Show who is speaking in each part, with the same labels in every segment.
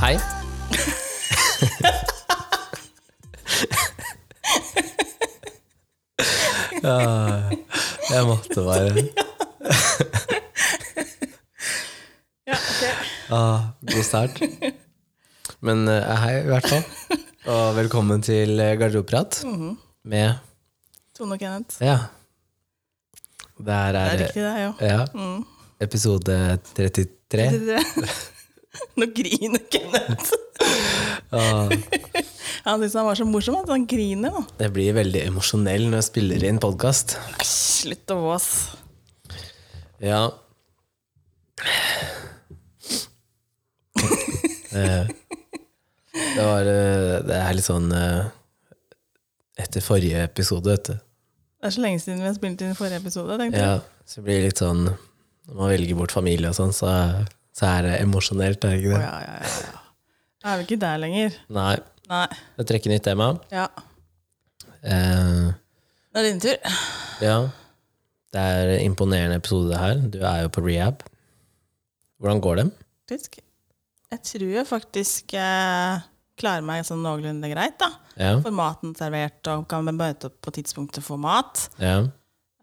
Speaker 1: Hei. ja, jeg måtte bare
Speaker 2: Ja, ok.
Speaker 1: ah, God start. Men eh, hei, i hvert fall. Og velkommen til eh, Garderobeprat
Speaker 2: Mhm.
Speaker 1: med
Speaker 2: Tone og Kenneth.
Speaker 1: Ja. Det her er,
Speaker 2: Det er riktig, det er jo.
Speaker 1: ja,
Speaker 2: Mm.
Speaker 1: episode 33.
Speaker 2: Nå griner Kenneth. Ah.
Speaker 1: Og
Speaker 2: Han syntes han var så morsom at han griner nå.
Speaker 1: jeg blir veldig emosjonell når jeg spiller inn podkast.
Speaker 2: Æsj, Slutt å våse.
Speaker 1: Ja. Eh, det var eh, Det er litt sånn eh, Etter forrige episode, vet du.
Speaker 2: Det er så lenge siden vi har spilt inn forrige episode. tenkte jeg.
Speaker 1: Ja, så blir det litt sånn Når man velger bort familie og sånn, så, så er det emosjonelt, er det ikke
Speaker 2: Å,
Speaker 1: det?
Speaker 2: ja, ja, ja, ja. Da er vi ikke der lenger.
Speaker 1: Nei.
Speaker 2: Nei.
Speaker 1: Jeg trekker nytt tema.
Speaker 2: Ja.
Speaker 1: Eh,
Speaker 2: Nå er det din tur.
Speaker 1: ja. Det er en imponerende episode det her. Du er jo på rehab. Hvordan går det?
Speaker 2: Faktisk. Jeg tror jeg faktisk eh, klarer meg sånn noenlunde greit, da.
Speaker 1: Ja.
Speaker 2: Får maten servert og kan møte opp på tidspunktet for mat.
Speaker 1: Ja.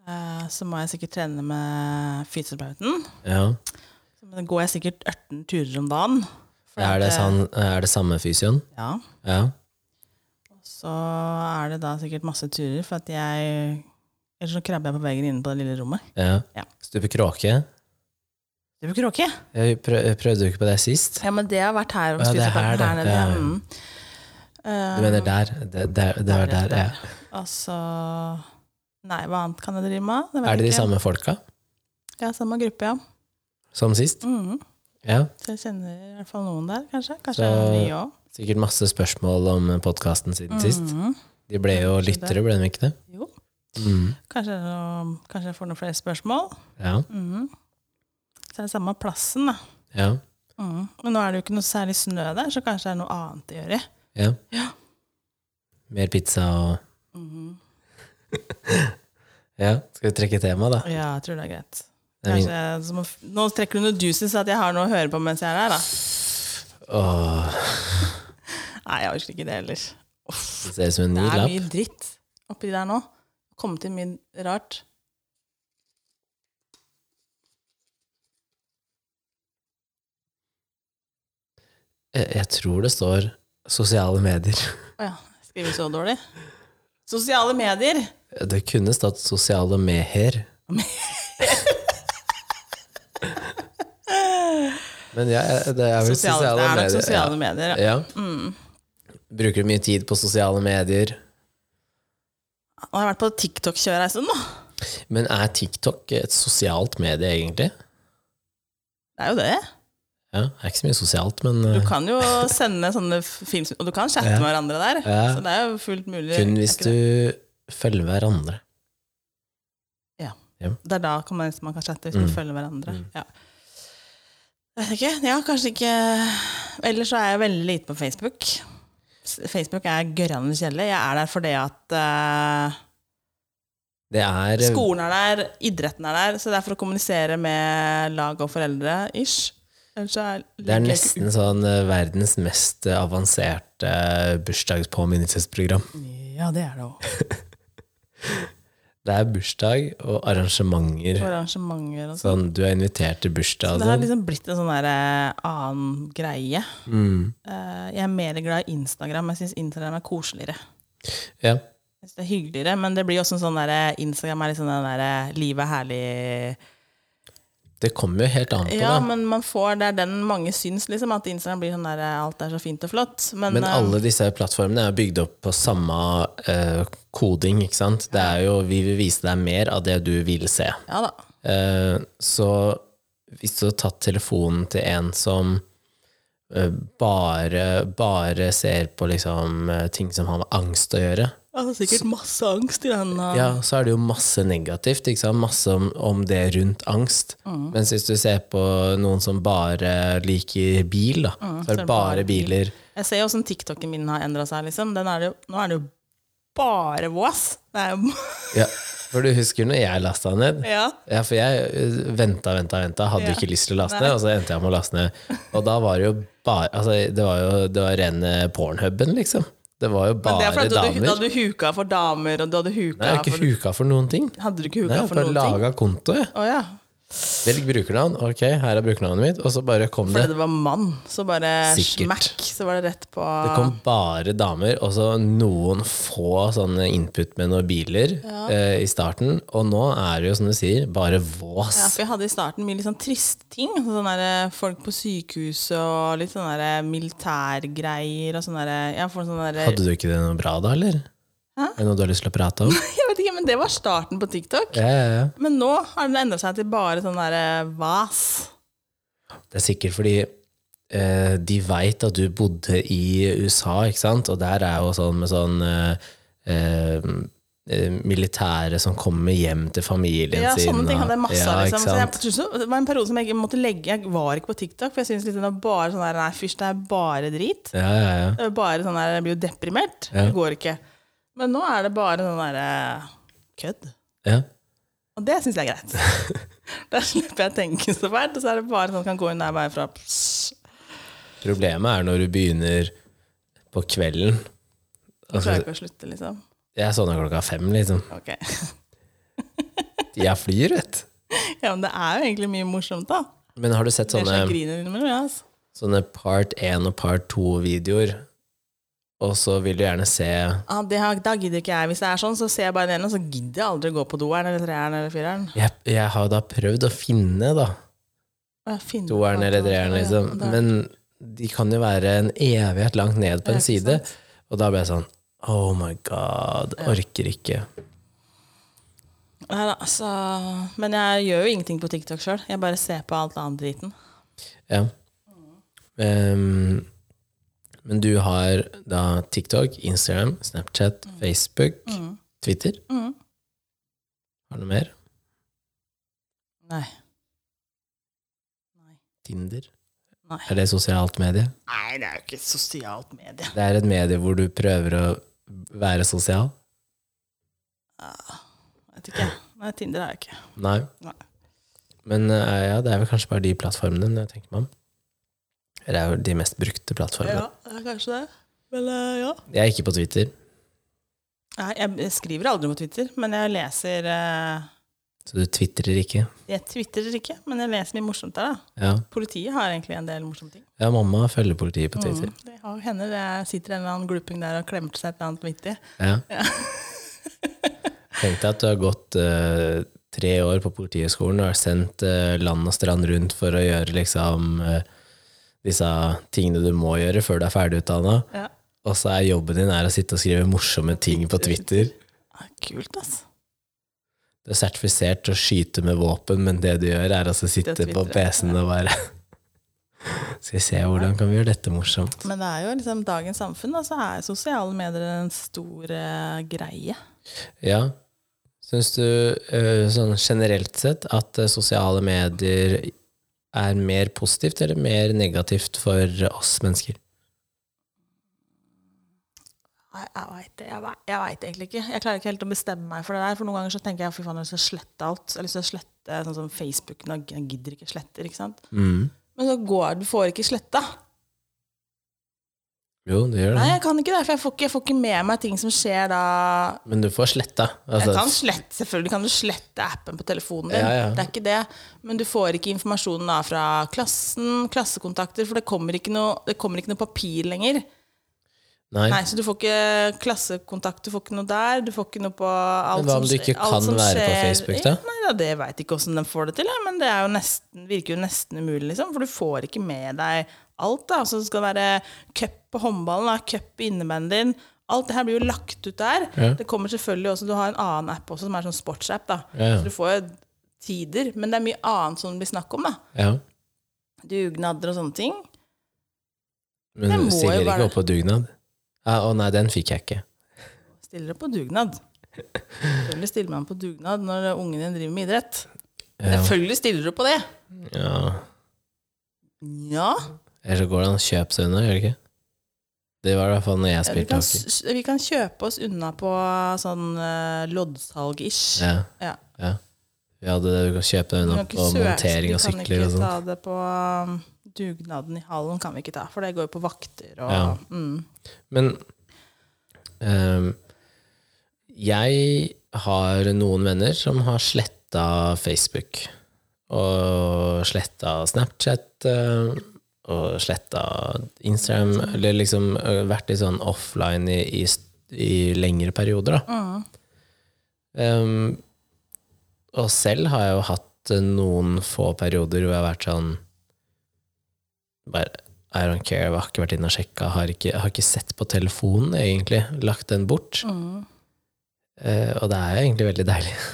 Speaker 2: Eh, så må jeg sikkert trene med fysioterapeuten.
Speaker 1: ja.
Speaker 2: Men det går jeg sikkert 18 turer om dagen. For
Speaker 1: Er det,
Speaker 2: at, eh,
Speaker 1: sånn, er det samme fysioen?
Speaker 2: Ja.
Speaker 1: Ja.
Speaker 2: Så er det da sikkert masse turer, for at jeg Ellers så krabber jeg på veggen inne på det lille rommet.
Speaker 1: Ja.
Speaker 2: Ja.
Speaker 1: Stupe kråke.
Speaker 2: Det blir kråke.
Speaker 1: Jeg prø jeg prøvde jo ikke på det sist.
Speaker 2: Ja, men det har vært her.
Speaker 1: Ja, det er her,
Speaker 2: her,
Speaker 1: det.
Speaker 2: her nede.
Speaker 1: Ja, ja.
Speaker 2: Mm. Eh,
Speaker 1: Du mener der? Det, der, det var der, ja.
Speaker 2: Altså Nei, hva annet kan jeg drive med? vet
Speaker 1: Er det de
Speaker 2: ikke.
Speaker 1: samme folka
Speaker 2: Ja, samme gruppe, ja.
Speaker 1: som sist?
Speaker 2: Mhm.
Speaker 1: Ja.
Speaker 2: Så jeg kjenner i hvert fall noen der, kanskje. Kanskje
Speaker 1: Så-
Speaker 2: vi òg.
Speaker 1: Sikkert masse spørsmål om podkasten
Speaker 2: Mm.
Speaker 1: siden sist. De ble jo lyttere, ble de ikke det?
Speaker 2: Jo.
Speaker 1: Mm.
Speaker 2: Kanskje, kanskje jeg får noen flere spørsmål.
Speaker 1: Ja.
Speaker 2: Mhm. Så er det samme plassen, da.
Speaker 1: Ja.
Speaker 2: Mhm. Men nå er det jo ikke noe særlig snø der, så kanskje det er noe annet å gjøre.
Speaker 1: ja.
Speaker 2: Ja.
Speaker 1: Mer pizza og
Speaker 2: Mhm.
Speaker 1: Ja, skal vi trekke tema, da?
Speaker 2: Ja, jeg tror det er greit.
Speaker 1: Det er min-
Speaker 2: Kanskje, jeg- så må, f- nå trekker du noe juicy, så at jeg har noe å høre på mens jeg er her, da.
Speaker 1: Åh,
Speaker 2: Nei, jeg orker ikke det heller.
Speaker 1: det ser ut som en ny
Speaker 2: Det er
Speaker 1: lapp.
Speaker 2: mye dritt oppi der nå. Komme til mye rart.
Speaker 1: Jeg, jeg tror det står sosiale medier.
Speaker 2: Å ja, jeg skriver så dårlig. Sosiale medier!
Speaker 1: Det kunne stått sosiale meher. Men ja, det er vel
Speaker 2: Sosiale,
Speaker 1: sosiale,
Speaker 2: det er nok
Speaker 1: medier.
Speaker 2: sosiale medier. Ja. Mm.
Speaker 1: ja. Ja. Bruker du mye tid på sosiale medier?
Speaker 2: Nå har jeg vært på TikTok-kjøret en stund, da.
Speaker 1: Men er TikTok et sosialt medie, egentlig?
Speaker 2: Det er jo det.
Speaker 1: Ja, det er ikke så mye sosialt, men
Speaker 2: Du
Speaker 1: eh,
Speaker 2: kan jo sende sånne film, og du kan chatte
Speaker 1: Ja.
Speaker 2: med hverandre der.
Speaker 1: Ja.
Speaker 2: Så det er jo fullt mulig.
Speaker 1: kun
Speaker 2: er
Speaker 1: hvis
Speaker 2: ikke
Speaker 1: du
Speaker 2: det?
Speaker 1: følger hverandre.
Speaker 2: Det er da kan man, liksom, man kan chatte, hvis man
Speaker 1: Mm.
Speaker 2: følger hverandre.
Speaker 1: Mm.
Speaker 2: Ja. Jeg vet ikke. Ja, kanskje ikke Ellers så er jeg veldig lite på Facebook. S- Facebook er gørrende kjedelig. Jeg er der fordi at eh,
Speaker 1: Det er eh,
Speaker 2: skolen er der, idretten er der, så det er for å kommunisere med lag og foreldre, ish. Ellers så er
Speaker 1: Det er nesten sånn eh, verdens mest eh, avanserte eh, bursdagspåminnelsesprogram.
Speaker 2: Ja, det er det òg.
Speaker 1: Det er bursdag og arrangementer.
Speaker 2: Arrangementer og sånn.
Speaker 1: Sånn, du er invitert til bursdag og
Speaker 2: Det har
Speaker 1: sånn.
Speaker 2: liksom blitt en sånn der, eh, annen greie.
Speaker 1: Mm.
Speaker 2: Eh, jeg er mer glad i Instagram. Jeg syns Instagram er koseligere.
Speaker 1: Ja.
Speaker 2: Jeg synes det er hyggeligere, Men det blir også en sånn der, Instagram er liksom den der eh, 'livet er herlig'
Speaker 1: Det kommer jo helt an på,
Speaker 2: Ja,
Speaker 1: da.
Speaker 2: men man får, det er den mange syns, liksom. At Instagram blir sånn der eh, 'alt er så fint og flott'. Men,
Speaker 1: Men
Speaker 2: eh,
Speaker 1: alle disse plattformene er jo bygd opp på samme eh, koding, ikke sant? Det er jo 'vi vil vise deg mer av det du vil se'.
Speaker 2: ja da.
Speaker 1: Eh, så hvis du hadde tatt telefonen til en som eh, bare, bare ser på liksom eh, ting som har med angst å gjøre,
Speaker 2: Jeg har sikkert masse angst i den. eh.
Speaker 1: ja, så er det jo masse negativt, ikke sant? masse om, om det rundt angst.
Speaker 2: Mm.
Speaker 1: Mens hvis du ser på noen som bare liker bil, da,
Speaker 2: Mm,
Speaker 1: så er det bare biler.
Speaker 2: Jeg ser jo åssen TikToken min har endra seg, liksom. Den er det, jo- nå er det jo bare vås. Det er jo
Speaker 1: Ja. For du husker når jeg lasta den ned?
Speaker 2: Ja.
Speaker 1: Ja, for jeg eh, venta, venta, venta. Hadde
Speaker 2: Ja.
Speaker 1: ikke lyst til å laste
Speaker 2: Nei.
Speaker 1: ned, og så endte jeg med å laste ned. Og da var det jo bare altså, Det var jo det var rene pornhuben, liksom. Det var jo
Speaker 2: Men det
Speaker 1: bare
Speaker 2: er fordi at du,
Speaker 1: damer.
Speaker 2: da hadde du huka for damer, og du hadde huka
Speaker 1: Nei, jeg har
Speaker 2: for
Speaker 1: ikke huka for noen ting.
Speaker 2: Hadde du ikke
Speaker 1: Nei,
Speaker 2: huka
Speaker 1: jeg
Speaker 2: for
Speaker 1: bare
Speaker 2: noen ting?
Speaker 1: laga konto, jeg.
Speaker 2: Å ja.
Speaker 1: Velg brukernavn. Ok, her er brukernavnet mitt. Og så bare kom det
Speaker 2: Fordi det var mann, så bare
Speaker 1: Sikkert.
Speaker 2: smack, så var det rett på
Speaker 1: Det kom bare damer, og så noen få sånne input med noen biler eh, i starten. Og nå er det jo, som du sier, bare vås.
Speaker 2: Ja, for jeg hadde i starten mye litt sånn triste ting. Sånn der, folk på sykehuset og litt sånne der eh, militærgreier og sånn der Jeg får sånn der
Speaker 1: Hadde du ikke det noe bra da, eller?
Speaker 2: Hæ?
Speaker 1: Er det noe du har lyst til å prate om?
Speaker 2: Jeg vet ikke, men det var starten på TikTok.
Speaker 1: Ja, ja, ja.
Speaker 2: Men nå har den endra seg til bare sånn derre vas.
Speaker 1: Det er sikkert fordi eh, de veit at du bodde i USA, ikke sant? Og der er jo sånn med sånn eh, eh, eh, Militære som kommer hjem til familien
Speaker 2: Ja,
Speaker 1: sin.
Speaker 2: sånne ting
Speaker 1: og-
Speaker 2: hadde jeg masse
Speaker 1: Ja,
Speaker 2: av. Liksom.
Speaker 1: ikke
Speaker 2: Så jeg,
Speaker 1: sant?
Speaker 2: tror så- det var en periode som jeg ikke måtte legge Jeg var ikke på TikTok, for jeg syntes liksom det var bare sånn der Nei, fysj, det er bare drit.
Speaker 1: Ja, ja, ja.
Speaker 2: Det er bare sånn der Jeg blir jo deprimert.
Speaker 1: Ja.
Speaker 2: Det går ikke. Men nå er det bare sånn derre kødd.
Speaker 1: ja.
Speaker 2: Og det syns jeg er greit. Da slipper jeg å tenke så fælt, og så er det bare sånn at man kan gå inn der bare fra
Speaker 1: Problemet er når du begynner på kvelden.
Speaker 2: Jeg
Speaker 1: Altså,
Speaker 2: klarer ikke å slutte, liksom.
Speaker 1: jeg sovner klokka fem, liksom.
Speaker 2: Ok.
Speaker 1: Jeg flyr, vet du.
Speaker 2: Ja, men det er jo egentlig mye morsomt, da.
Speaker 1: Men har du sett
Speaker 2: Det er sånn så jeg
Speaker 1: sånne,
Speaker 2: griner innimellom, ja. Altså.
Speaker 1: sånne part 1 og part 2-videoer? Og så vil du gjerne se
Speaker 2: Ah, det har, da gidder ikke jeg. Hvis det er sånn, så ser jeg bare den ene, og så gidder jeg aldri å gå på doeren eller treeren eller fireren.
Speaker 1: Jeg, jeg har da prøvd å finne da
Speaker 2: Og jeg finner
Speaker 1: toeren
Speaker 2: på at-
Speaker 1: eller treeren, liksom.
Speaker 2: Ja, det er-
Speaker 1: Men de kan jo være en evighet langt ned på
Speaker 2: Ja,
Speaker 1: en
Speaker 2: ikke
Speaker 1: side.
Speaker 2: sant?
Speaker 1: Og da ble jeg sånn Oh my god, orker ikke.
Speaker 2: Nei da, så Men jeg gjør jo ingenting på TikTok sjøl. Jeg bare ser på alt annet driten.
Speaker 1: Ja. Ehm, men du har da TikTok, Instagram, Snapchat, Facebook,
Speaker 2: Mm.
Speaker 1: Twitter.
Speaker 2: Mm.
Speaker 1: Har du noe mer?
Speaker 2: Nei.
Speaker 1: Tinder?
Speaker 2: Nei.
Speaker 1: Er det sosialt medie?
Speaker 2: Nei, det er jo ikke et sosialt medie.
Speaker 1: Det er et medie hvor du prøver å være sosial?
Speaker 2: Ah, Vet ikke. Nei, Tinder er jeg ikke.
Speaker 1: Nei.
Speaker 2: Nei.
Speaker 1: Men eh, ja, det er vel kanskje bare de plattformene når jeg tenker meg om. Eller Det er jo de mest brukte plattformene.
Speaker 2: Ja, det er kanskje det. Vel, eh, ja.
Speaker 1: Jeg er ikke på Twitter,
Speaker 2: Nei, jeg jeg skriver aldri på Twitter, men jeg leser eh,
Speaker 1: så du twitrer ikke.
Speaker 2: Jeg twitterer ikke, men jeg leser mye morsomt der, da.
Speaker 1: Ja.
Speaker 2: Politiet har egentlig en del morsomme ting.
Speaker 1: ja, mamma følger politiet på Twitter.
Speaker 2: Mm, det har- hender det sitter en eller annen gluping der og klemmer til seg et eller annet vittig.
Speaker 1: Ja. Tenk deg at du har gått eh, tre år på Politihøgskolen og har sendt eh, land og strand rundt for å gjøre liksom eh, disse tingene du må gjøre før du er ferdigutdanna,
Speaker 2: Ja.
Speaker 1: og så er jobben din er å sitte og skrive morsomme ting på Twitter.
Speaker 2: Ah, Kult, ass.
Speaker 1: Du er sertifisert til å skyte med våpen, men det du gjør, er altså å sitte
Speaker 2: Det er
Speaker 1: på
Speaker 2: Twitter,
Speaker 1: PC-en og bare Skal vi se hvordan kan vi gjøre dette morsomt?
Speaker 2: Men det er jo liksom dagens samfunn, da, så er sosiale medier en stor eh, greie.
Speaker 1: Ja. Syns du eh, sånn generelt sett at eh, sosiale medier er mer positivt eller mer negativt for oss mennesker?
Speaker 2: Nei, Jeg veit det. Jeg vet- Jeg vet egentlig ikke. Jeg klarer ikke helt å bestemme meg for det der. For noen ganger så tenker jeg fy faen, jeg har lyst til å slette alt. Jeg har lyst til å slette sånn som Facebook. Nå jeg gidder ikke sletter, ikke sant.
Speaker 1: Mm.
Speaker 2: Men så går du får ikke sletta.
Speaker 1: Jo, det gjør
Speaker 2: Nei,
Speaker 1: det.
Speaker 2: jeg kan ikke det. For jeg får ikke, jeg får ikke med meg ting som skjer da
Speaker 1: Men du får sletta.
Speaker 2: Jeg
Speaker 1: Altså,
Speaker 2: kan slette, selvfølgelig kan du slette appen på telefonen din.
Speaker 1: Ja, ja.
Speaker 2: Det er ikke det. Men du får ikke informasjonen da fra klassen, klassekontakter, for det kommer ikke noe, det kommer ikke noe papir lenger.
Speaker 1: nei.
Speaker 2: Nei, Så du får ikke klassekontakt, du får ikke noe der. Du får ikke noe på
Speaker 1: Men
Speaker 2: alt
Speaker 1: hva om
Speaker 2: som
Speaker 1: du ikke
Speaker 2: skjer- alt
Speaker 1: kan
Speaker 2: som
Speaker 1: være på
Speaker 2: skjer-
Speaker 1: Facebook, da?
Speaker 2: Ja, Nei, da, Det veit ikke åssen de får det til, ja, men det er jo nesten, virker jo nesten umulig, liksom. For du får ikke med deg alt. da, Så det skal være cup på håndballen, da, cup i innebandyen. Alt det her blir jo lagt ut der.
Speaker 1: Ja.
Speaker 2: Det kommer selvfølgelig også, Du har en annen app også, som er sånn sportsapp. da,
Speaker 1: Ja.
Speaker 2: Så du får jo tider, men det er mye annet som det blir snakk om. da,
Speaker 1: Ja.
Speaker 2: Dugnader og sånne ting. Det
Speaker 1: Men
Speaker 2: må
Speaker 1: du
Speaker 2: jo
Speaker 1: stiller
Speaker 2: være-
Speaker 1: ikke opp på dugnad? Ja, Å nei, den fikk jeg ikke.
Speaker 2: Stiller på dugnad. Selvfølgelig stiller man på dugnad når ungen din driver med idrett.
Speaker 1: Ja.
Speaker 2: Selvfølgelig stiller du på det!
Speaker 1: Ja.
Speaker 2: Ja.
Speaker 1: Eller så går det an å kjøpe seg unna, gjør det ikke? Det var i hvert fall når jeg
Speaker 2: Vi
Speaker 1: spilte
Speaker 2: kan,
Speaker 1: hockey.
Speaker 2: s- vi kan kjøpe oss unna på sånn eh, loddsalg-ish.
Speaker 1: Ja,
Speaker 2: Ja.
Speaker 1: ja. Vi hadde det, du kan kjøpe deg
Speaker 2: Vi
Speaker 1: unna
Speaker 2: kan ikke
Speaker 1: på
Speaker 2: søke-
Speaker 1: montering og
Speaker 2: Vi kan
Speaker 1: sykler
Speaker 2: ikke
Speaker 1: og sånt.
Speaker 2: ta det på um, dugnaden i hallen, kan vi ikke ta, for det går jo på vakter og
Speaker 1: Ja.
Speaker 2: mm.
Speaker 1: Men ehm, jeg har noen venner som har sletta Facebook. Og sletta Snapchat. eh, og sletta Instagram. Eller liksom eh, vært litt sånn offline i, i, st- i lengre perioder, da.
Speaker 2: mm,
Speaker 1: Ehm, og selv har jeg jo hatt eh, noen få perioder hvor jeg har vært sånn bare I don't care, jeg har ikke vært inne og sjekka, har ikke, har ikke sett på telefonen, egentlig. Lagt den bort.
Speaker 2: Mm.
Speaker 1: Eh, og det er jo egentlig veldig deilig.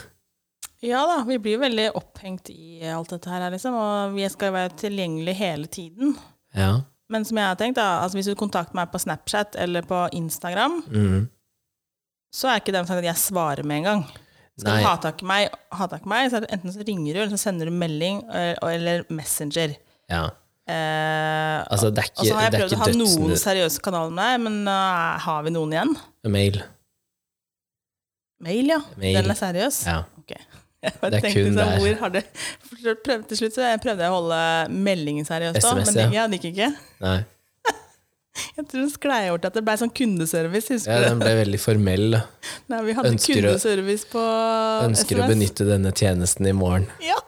Speaker 2: Ja da, vi blir veldig opphengt i alt dette her, liksom, og vi skal være tilgjengelige hele tiden.
Speaker 1: Ja.
Speaker 2: Men som jeg har tenkt, da, altså hvis du kontakter meg på Snapchat eller på Instagram,
Speaker 1: Mm.
Speaker 2: så er ikke det sånn at jeg svarer med en gang. Skal
Speaker 1: Nei.
Speaker 2: du ha tak i meg, ha tak i meg, så er det enten så ringer du, eller så sender du melding, eh, eller Messenger.
Speaker 1: ja.
Speaker 2: Eh,
Speaker 1: Altså, det er
Speaker 2: og så
Speaker 1: ikke,
Speaker 2: har jeg
Speaker 1: det er
Speaker 2: prøvd å
Speaker 1: ikke
Speaker 2: ha noen
Speaker 1: dødsnytt.
Speaker 2: seriøse kanaler med deg, men eh, har vi noen igjen?
Speaker 1: Mail.
Speaker 2: Mail, ja.
Speaker 1: Mail.
Speaker 2: Den er seriøs?
Speaker 1: Ja.
Speaker 2: Ok. Jeg bare
Speaker 1: Det er
Speaker 2: tenkte
Speaker 1: kun
Speaker 2: sånn,
Speaker 1: der.
Speaker 2: hvor har det For prøv- Til slutt så jeg prøvde jeg å holde meldingen seriøs, da, men
Speaker 1: SMS,
Speaker 2: det,
Speaker 1: ja.
Speaker 2: ja, det gikk ikke.
Speaker 1: Nei.
Speaker 2: Jeg tror den sklei over til at det ble sånn
Speaker 1: Ja,
Speaker 2: kundeservice. Husker du?
Speaker 1: den ble veldig formell. da.
Speaker 2: Nei, vi hadde
Speaker 1: Ønsker å-
Speaker 2: kundeservice på
Speaker 1: Ønsker å
Speaker 2: SMS.
Speaker 1: benytte denne tjenesten i morgen.
Speaker 2: Ja.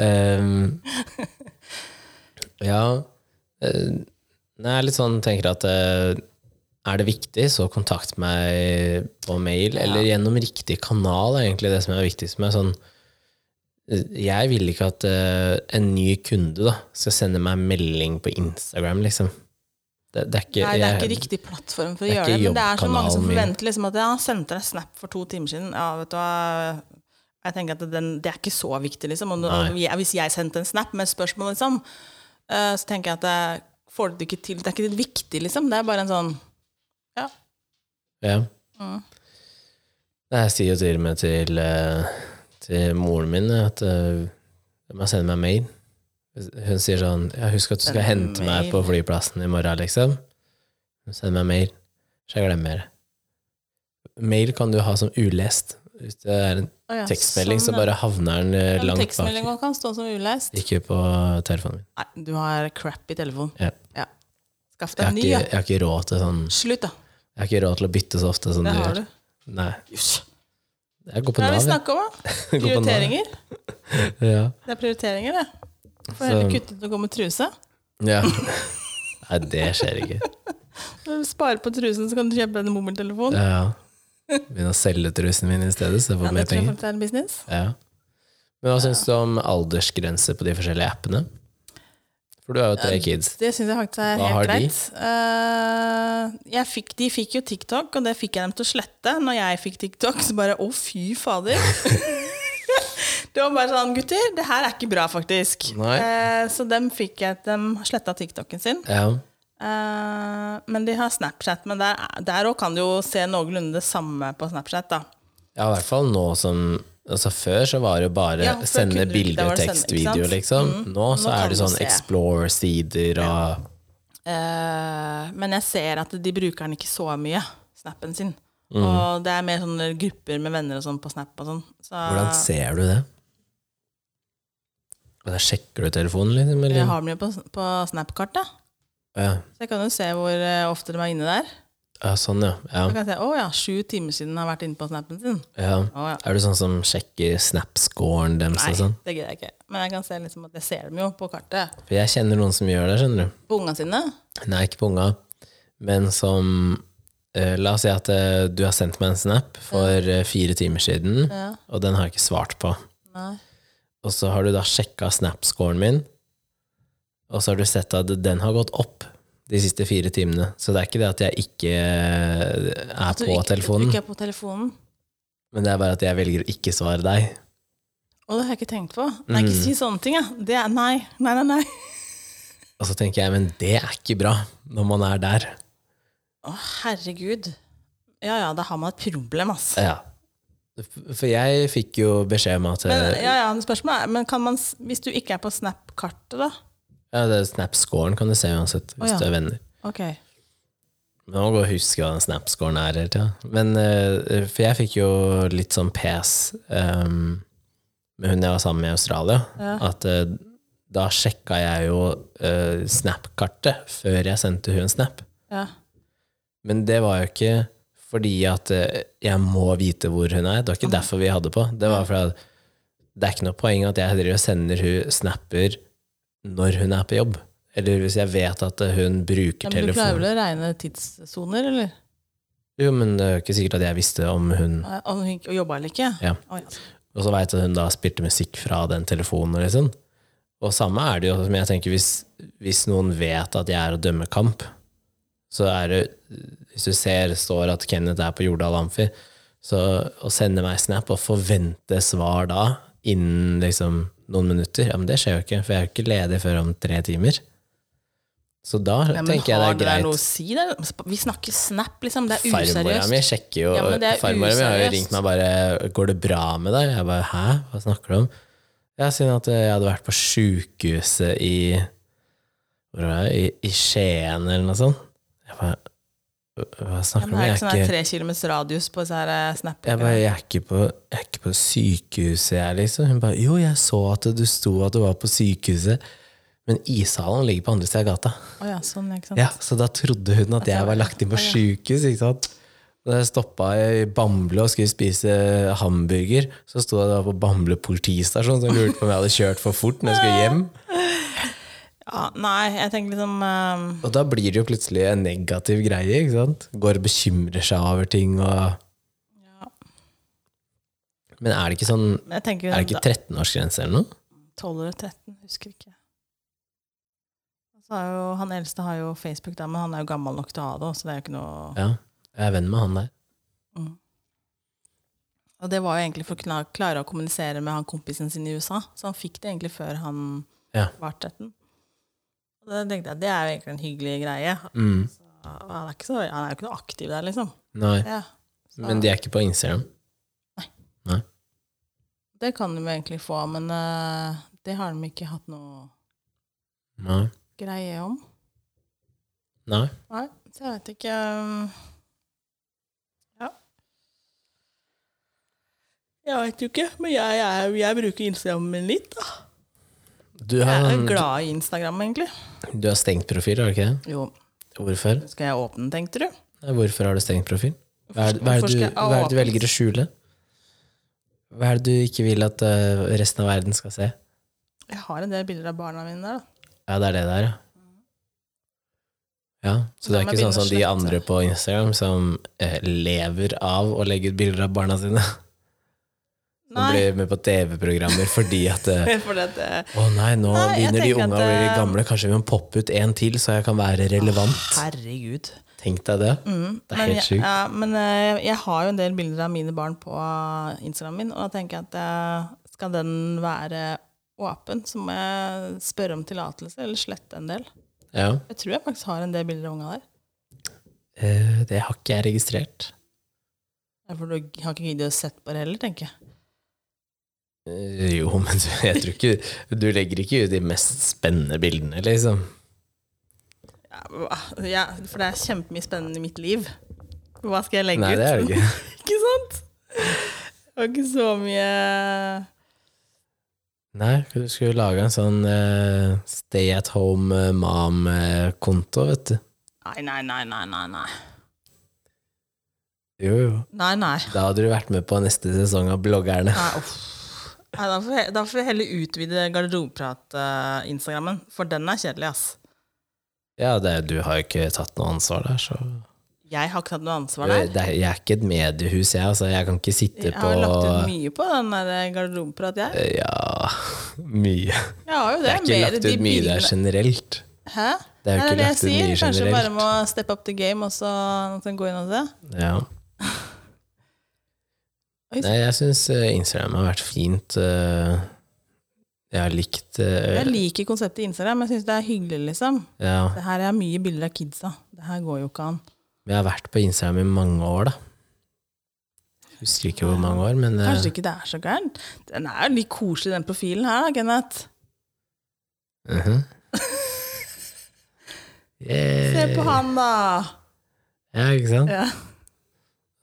Speaker 1: Ehm, ja eh, Nei, jeg er litt sånn tenker at eh, er det viktig, så kontakt meg på mail, eller gjennom riktig kanal, er egentlig det som er viktigst med sånn eh, jeg vil ikke at eh, en ny kunde da, skal sende meg melding på Instagram, liksom. Det, det er ikke,
Speaker 2: Nei, det er ikke
Speaker 1: jeg-
Speaker 2: riktig plattform for
Speaker 1: det
Speaker 2: å
Speaker 1: er
Speaker 2: gjøre det.
Speaker 1: ikke
Speaker 2: Men det er så mange som
Speaker 1: jobbkanalen min.
Speaker 2: forventer liksom at ja, han sendte deg snap for to timer siden. Ja, vet du hva. Jeg tenker at den, Det er ikke så viktig, liksom. Om, om jeg, hvis jeg sendte en snap med et spørsmål, liksom, eh, så tenker jeg at det, får du det ikke til. Det er ikke litt viktig, liksom. Det er bare en sånn Ja.
Speaker 1: Ja.
Speaker 2: Mm.
Speaker 1: Nei, Jeg sier jo til og med til, eh, til moren min at eh, de må sende meg mail. Hun sier sånn ja, 'Husk at du skal
Speaker 2: Send
Speaker 1: hente meg
Speaker 2: mail.
Speaker 1: på flyplassen i morgen', liksom. Hun sender meg mail, så jeg glemmer det. Mail kan du ha som ulest. Hvis det er en
Speaker 2: Å ja,
Speaker 1: tekstmelding, så
Speaker 2: sånn, ja.
Speaker 1: bare havner den eh,
Speaker 2: Ja, men
Speaker 1: langt
Speaker 2: Tekstmelding
Speaker 1: bak.
Speaker 2: også kan stå som ulest.
Speaker 1: Ikke på telefonen min.
Speaker 2: Nei, du har crap i telefonen.
Speaker 1: Ja.
Speaker 2: Ja. Skaff
Speaker 1: Jeg
Speaker 2: deg
Speaker 1: har,
Speaker 2: en ny,
Speaker 1: ikke,
Speaker 2: ja.
Speaker 1: jeg har ikke råd til sånn
Speaker 2: Slutt, da.
Speaker 1: Jeg har ikke råd til å bytte så ofte som
Speaker 2: Det
Speaker 1: du
Speaker 2: har
Speaker 1: gjør.
Speaker 2: du.
Speaker 1: Nei.
Speaker 2: Jøss.
Speaker 1: Jeg går på
Speaker 2: Hva
Speaker 1: Nav,
Speaker 2: er det vi
Speaker 1: jeg.
Speaker 2: snakker om, da?
Speaker 1: Går på Nav.
Speaker 2: Prioriteringer.
Speaker 1: Ja.
Speaker 2: Det er prioriteringer, det. Får
Speaker 1: Så-
Speaker 2: heller kutte ut å gå med truse.
Speaker 1: Ja. Nei, det skjer ikke.
Speaker 2: Når du sparer på trusen, så kan du kjøpe deg en mobiltelefon.
Speaker 1: Ja. Begynne å selge trusen min i stedet, så jeg
Speaker 2: Ja,
Speaker 1: får
Speaker 2: det
Speaker 1: mer
Speaker 2: tror jeg
Speaker 1: penger.
Speaker 2: faktisk er en business.
Speaker 1: Ja. Men hva syns du om aldersgrense på de forskjellige appene? For du har jo tre kids.
Speaker 2: Det syns jeg faktisk er
Speaker 1: Hva har
Speaker 2: helt
Speaker 1: de?
Speaker 2: greit. Eh, jeg fikk, de fikk jo TikTok, og det fikk jeg dem til å slette. Når jeg fikk TikTok, så bare å, fy fader. det var bare sånn, gutter, det her er ikke bra, faktisk.
Speaker 1: Nei.
Speaker 2: Eh, så dem fikk jeg dem sletta TikToken sin.
Speaker 1: Ja.
Speaker 2: Eh, men de har Snapchat, men der òg kan du jo se noenlunde det samme på Snapchat, da.
Speaker 1: ja, i hvert fall nå som Altså Før så var det jo bare
Speaker 2: Ja, før
Speaker 1: sende
Speaker 2: kunne du-
Speaker 1: bilde,
Speaker 2: da var det
Speaker 1: tekst,
Speaker 2: sende, ikke sant? Mm.
Speaker 1: video, liksom. Nå så
Speaker 2: Nå kan
Speaker 1: er det
Speaker 2: du
Speaker 1: sånn
Speaker 2: se.
Speaker 1: Explore-sider og
Speaker 2: Eh, men jeg ser at de bruker den ikke så mye, snappen sin.
Speaker 1: Mm.
Speaker 2: Og det er mer sånne grupper med venner og sånn på snap og sånn. Så
Speaker 1: Hvordan ser du det? Og da sjekker du telefonen, liksom?
Speaker 2: jeg
Speaker 1: Eller?
Speaker 2: har den jo på, på Snap-kart, da.
Speaker 1: Ja.
Speaker 2: Så jeg kan jo se hvor eh, ofte de er inne der.
Speaker 1: ja, sånn, ja. ja.
Speaker 2: Så kan jeg se, å ja, sju timer siden har vært inne på snappen sin.
Speaker 1: ja.
Speaker 2: Å, ja.
Speaker 1: Er du sånn som sjekker Snap-scoren deres
Speaker 2: Nei,
Speaker 1: og sånn?
Speaker 2: det gidder jeg ikke. Men jeg kan se liksom at jeg ser dem jo på kartet.
Speaker 1: For jeg kjenner noen som gjør det, skjønner du.
Speaker 2: På ungene sine.
Speaker 1: Nei, ikke på unga, men som eh, La oss si at eh, du har sendt meg en snap for eh, fire timer siden,
Speaker 2: Ja.
Speaker 1: og den har jeg ikke svart på.
Speaker 2: Nei.
Speaker 1: Og så har du da sjekka snap-scoren min, og så har du sett at den har gått opp de siste fire timene. Så det er ikke det at jeg ikke eh, er
Speaker 2: At du
Speaker 1: på
Speaker 2: ikke-
Speaker 1: telefonen,
Speaker 2: Du ikke er på telefonen.
Speaker 1: men det er bare at jeg velger å ikke svare deg.
Speaker 2: Og det har jeg ikke tenkt på. Nei,
Speaker 1: Mm.
Speaker 2: ikke si sånne ting, jeg. Det er nei, nei, nei. nei.
Speaker 1: Og så tenker jeg, men det er ikke bra, når man er der.
Speaker 2: Å, herregud. Ja ja, da har man et problem, ass.
Speaker 1: Ja. For jeg fikk jo beskjed om at eh,
Speaker 2: Men, ja, ja, men spørsmålet er, men kan man, s- hvis du ikke er på Snap-kartet, da?
Speaker 1: Ja, det er Snap-scoren kan du se uansett, hvis
Speaker 2: Å, ja.
Speaker 1: du er venner.
Speaker 2: Ok.
Speaker 1: Jeg må gå og huske hva den snapscoren er hele tida. Men eh, For jeg fikk jo litt sånn pes eh, med hun jeg var sammen med i Australia. At eh, da sjekka jeg jo eh, Snap-kartet før jeg sendte hun snap.
Speaker 2: Ja.
Speaker 1: Men det var jo ikke fordi at eh, jeg må vite hvor hun er. Det var ikke derfor vi hadde på. Det var fordi at det er ikke noe poeng at jeg driver og sender hun snapper når hun er på jobb. Eller hvis jeg vet at eh, hun bruker
Speaker 2: Men du klarer
Speaker 1: telefonen.
Speaker 2: vel å regne tidssoner, eller?
Speaker 1: Jo, men det er jo ikke sikkert at jeg visste om hun
Speaker 2: Eh, Om hun ikke jobba eller ikke?
Speaker 1: Ja.
Speaker 2: Å, ja.
Speaker 1: Og så veit jeg at hun da spilte musikk fra den telefonen. og Liksom. Og samme er det jo, men jeg tenker hvis, hvis noen vet at jeg er og dømmer kamp, så er det Hvis du ser står at Kenneth er på Jordal Amfi, så å sende meg snap og forvente svar da, innen liksom noen minutter, ja, men det skjer jo ikke, for jeg er jo ikke ledig før om tre timer. Så da
Speaker 2: Ja, men
Speaker 1: tenker jeg det
Speaker 2: har
Speaker 1: er
Speaker 2: dere
Speaker 1: greit.
Speaker 2: noe å si der? Vi snakker snap, liksom. Det er
Speaker 1: Farmora mi
Speaker 2: useriøst.
Speaker 1: sjekker jo
Speaker 2: Ja, men det er
Speaker 1: Farmora mi har jo
Speaker 2: useriøst.
Speaker 1: ringt meg bare 'Går det bra med deg?' Jeg bare 'Hæ? Hva snakker du om?' Jeg sier at jeg hadde vært på sjukehuset i Hvor var jeg? I, I Skien eller noe sånt. Jeg bare Hva
Speaker 2: Ja,
Speaker 1: snakker du
Speaker 2: men
Speaker 1: om?
Speaker 2: det er
Speaker 1: Jeg
Speaker 2: ikke sånn
Speaker 1: er
Speaker 2: der
Speaker 1: ikke
Speaker 2: tre kilometers radius på disse her eh, snap
Speaker 1: jeg bare, jeg er, ikke på, jeg er ikke på sykehuset, jeg, liksom. Hun bare 'Jo, jeg så at du sto at du var på sykehuset', men ishallen ligger på andre siden av gata.
Speaker 2: Å ja, sånn, ikke sant?
Speaker 1: Ja, Så da trodde hun at jeg var lagt inn på sjukehus. ikke sant? Da jeg stoppa i Bamble og skulle spise hamburger, så sto jeg da på Bamble politistasjon og lurte på om jeg hadde kjørt for fort når jeg skulle hjem.
Speaker 2: Ja, nei, jeg tenker liksom eh,
Speaker 1: Og da blir det jo plutselig en negativ greie. ikke sant? Går og bekymrer seg over ting og Men er det ikke sånn
Speaker 2: men jeg tenker
Speaker 1: Er det ikke 13-årsgrense eller noe?
Speaker 2: 12 eller 13, husker ikke. Så er jo, han eldste har jo Facebook, da, men han er jo gammel nok til å ha det. Så det er jo ikke noe
Speaker 1: Ja. Jeg er venn med han der.
Speaker 2: Mm. Og det var jo egentlig for å kla- klare å kommunisere med han kompisen sin i USA. Så han fikk det egentlig før han
Speaker 1: Ja.
Speaker 2: var 13. Og da tenkte jeg det er jo egentlig en hyggelig greie.
Speaker 1: Mm.
Speaker 2: Og Han er, ikke så, han er jo ikke noe aktiv der, liksom.
Speaker 1: Nei.
Speaker 2: Ja. Så
Speaker 1: Men de er ikke på Instagram?
Speaker 2: Det kan de jo egentlig få, men eh, det har de ikke hatt noe
Speaker 1: Nei.
Speaker 2: greie om.
Speaker 1: Nei.
Speaker 2: Nei, så jeg vet ikke um, Ja. Jeg vet jo ikke, men jeg, jeg, jeg bruker Instagrammen min litt. da.
Speaker 1: Du har, sånn-
Speaker 2: Jeg er glad i Instagram, egentlig.
Speaker 1: du har stengt profil, har du ikke det?
Speaker 2: Jo,
Speaker 1: Hvorfor?
Speaker 2: skal jeg åpne den, tenkte du?
Speaker 1: Nei, hvorfor har du stengt profil? Hva er, hva er,
Speaker 2: Hvorfor
Speaker 1: det du,
Speaker 2: skal jeg ha
Speaker 1: hva er det du
Speaker 2: åpent?
Speaker 1: velger å skjule? Hva er det du ikke vil at øh, resten av verden skal se?
Speaker 2: Jeg har en del bilder av barna mine der. da.
Speaker 1: Ja, det er det der, ja. Ja, Så
Speaker 2: Da
Speaker 1: det er
Speaker 2: må
Speaker 1: ikke
Speaker 2: jeg
Speaker 1: sånn som de
Speaker 2: begynne å slette.
Speaker 1: andre på Instagram som eh, lever av å legge ut bilder av barna sine? Som
Speaker 2: Nei,
Speaker 1: blir med på TV-programmer fordi at eh,
Speaker 2: for det, at, eh,
Speaker 1: Å nei, nå
Speaker 2: Nei, jeg
Speaker 1: begynner de
Speaker 2: tenker
Speaker 1: unge å
Speaker 2: at,
Speaker 1: bli
Speaker 2: eh,
Speaker 1: gamle, kanskje vi må poppe ut en til så jeg kan være relevant?
Speaker 2: Herregud.
Speaker 1: Tenk deg det.
Speaker 2: Mm,
Speaker 1: Det er
Speaker 2: men
Speaker 1: helt
Speaker 2: jeg-
Speaker 1: sjukt.
Speaker 2: Ja, men eh, jeg har jo en del bilder av mine barn på eh, Instagram min, og da tenker jeg at eh, skal den være åpen, så må jeg spørre om tillatelse, eller slette en del.
Speaker 1: Ja.
Speaker 2: Jeg tror jeg faktisk har en del bilder av unga der.
Speaker 1: Eh, det har ikke jeg registrert.
Speaker 2: For du har ikke giddet å sett på det heller, tenker jeg.
Speaker 1: Eh, Jo, men du, jeg tror ikke Du legger ikke ut de mest spennende bildene, liksom.
Speaker 2: Ja, hva- ja, for det er kjempemye spennende i mitt liv. Hva skal jeg legge
Speaker 1: Nei,
Speaker 2: ut?
Speaker 1: det er det ikke.
Speaker 2: Ikke sant? Det var ikke så mye
Speaker 1: Nei, du skulle lage en sånn eh, stay at home eh, mom-konto, vet du.
Speaker 2: Nei, nei, nei, nei, nei. Nei,
Speaker 1: Jo, jo.
Speaker 2: nei. nei.
Speaker 1: Da hadde du vært med på neste sesong av Bloggerne.
Speaker 2: Nei, uff. Nei, da, får jeg, da får jeg heller utvide garderobeprat-instagrammen, for den er kjedelig, ass.
Speaker 1: Ja, det, er- du har jo ikke tatt noe ansvar der, så
Speaker 2: Jeg har ikke tatt noe ansvar der.
Speaker 1: det, er- Jeg er ikke et mediehus, jeg, altså. Jeg kan ikke sitte
Speaker 2: Jeg
Speaker 1: på
Speaker 2: har lagt ut mye på den der eh, garderobeprat, jeg.
Speaker 1: Ja, mye.
Speaker 2: Jeg har jo
Speaker 1: Det
Speaker 2: det.
Speaker 1: er ikke
Speaker 2: mer
Speaker 1: lagt ut
Speaker 2: de
Speaker 1: mye der
Speaker 2: bildene-
Speaker 1: generelt.
Speaker 2: Hæ?
Speaker 1: Det er jo ikke
Speaker 2: Nei, jeg
Speaker 1: lagt ut
Speaker 2: sier.
Speaker 1: mye
Speaker 2: Kanskje bare
Speaker 1: generelt.
Speaker 2: må steppe up the game og så så gå inn og se.
Speaker 1: Ja.
Speaker 2: Oi,
Speaker 1: Nei, jeg syns eh, Instagram har vært fint. eh, Jeg har likt eh,
Speaker 2: Jeg liker konseptet Instagram, jeg syns det er hyggelig, liksom.
Speaker 1: ja.
Speaker 2: Det her er mye bilder av kidsa. Det her går jo ikke an.
Speaker 1: Jeg har vært på Instagram i mange år, da. Husker ikke hvor mange år, men eh,
Speaker 2: Kanskje ikke det er så gærent? Den er jo litt koselig, den profilen her, da, Kenneth.
Speaker 1: mhm.
Speaker 2: Se
Speaker 1: Yeah.
Speaker 2: på
Speaker 1: Eh,
Speaker 2: han, da!
Speaker 1: Ja, ikke sant?
Speaker 2: Ja.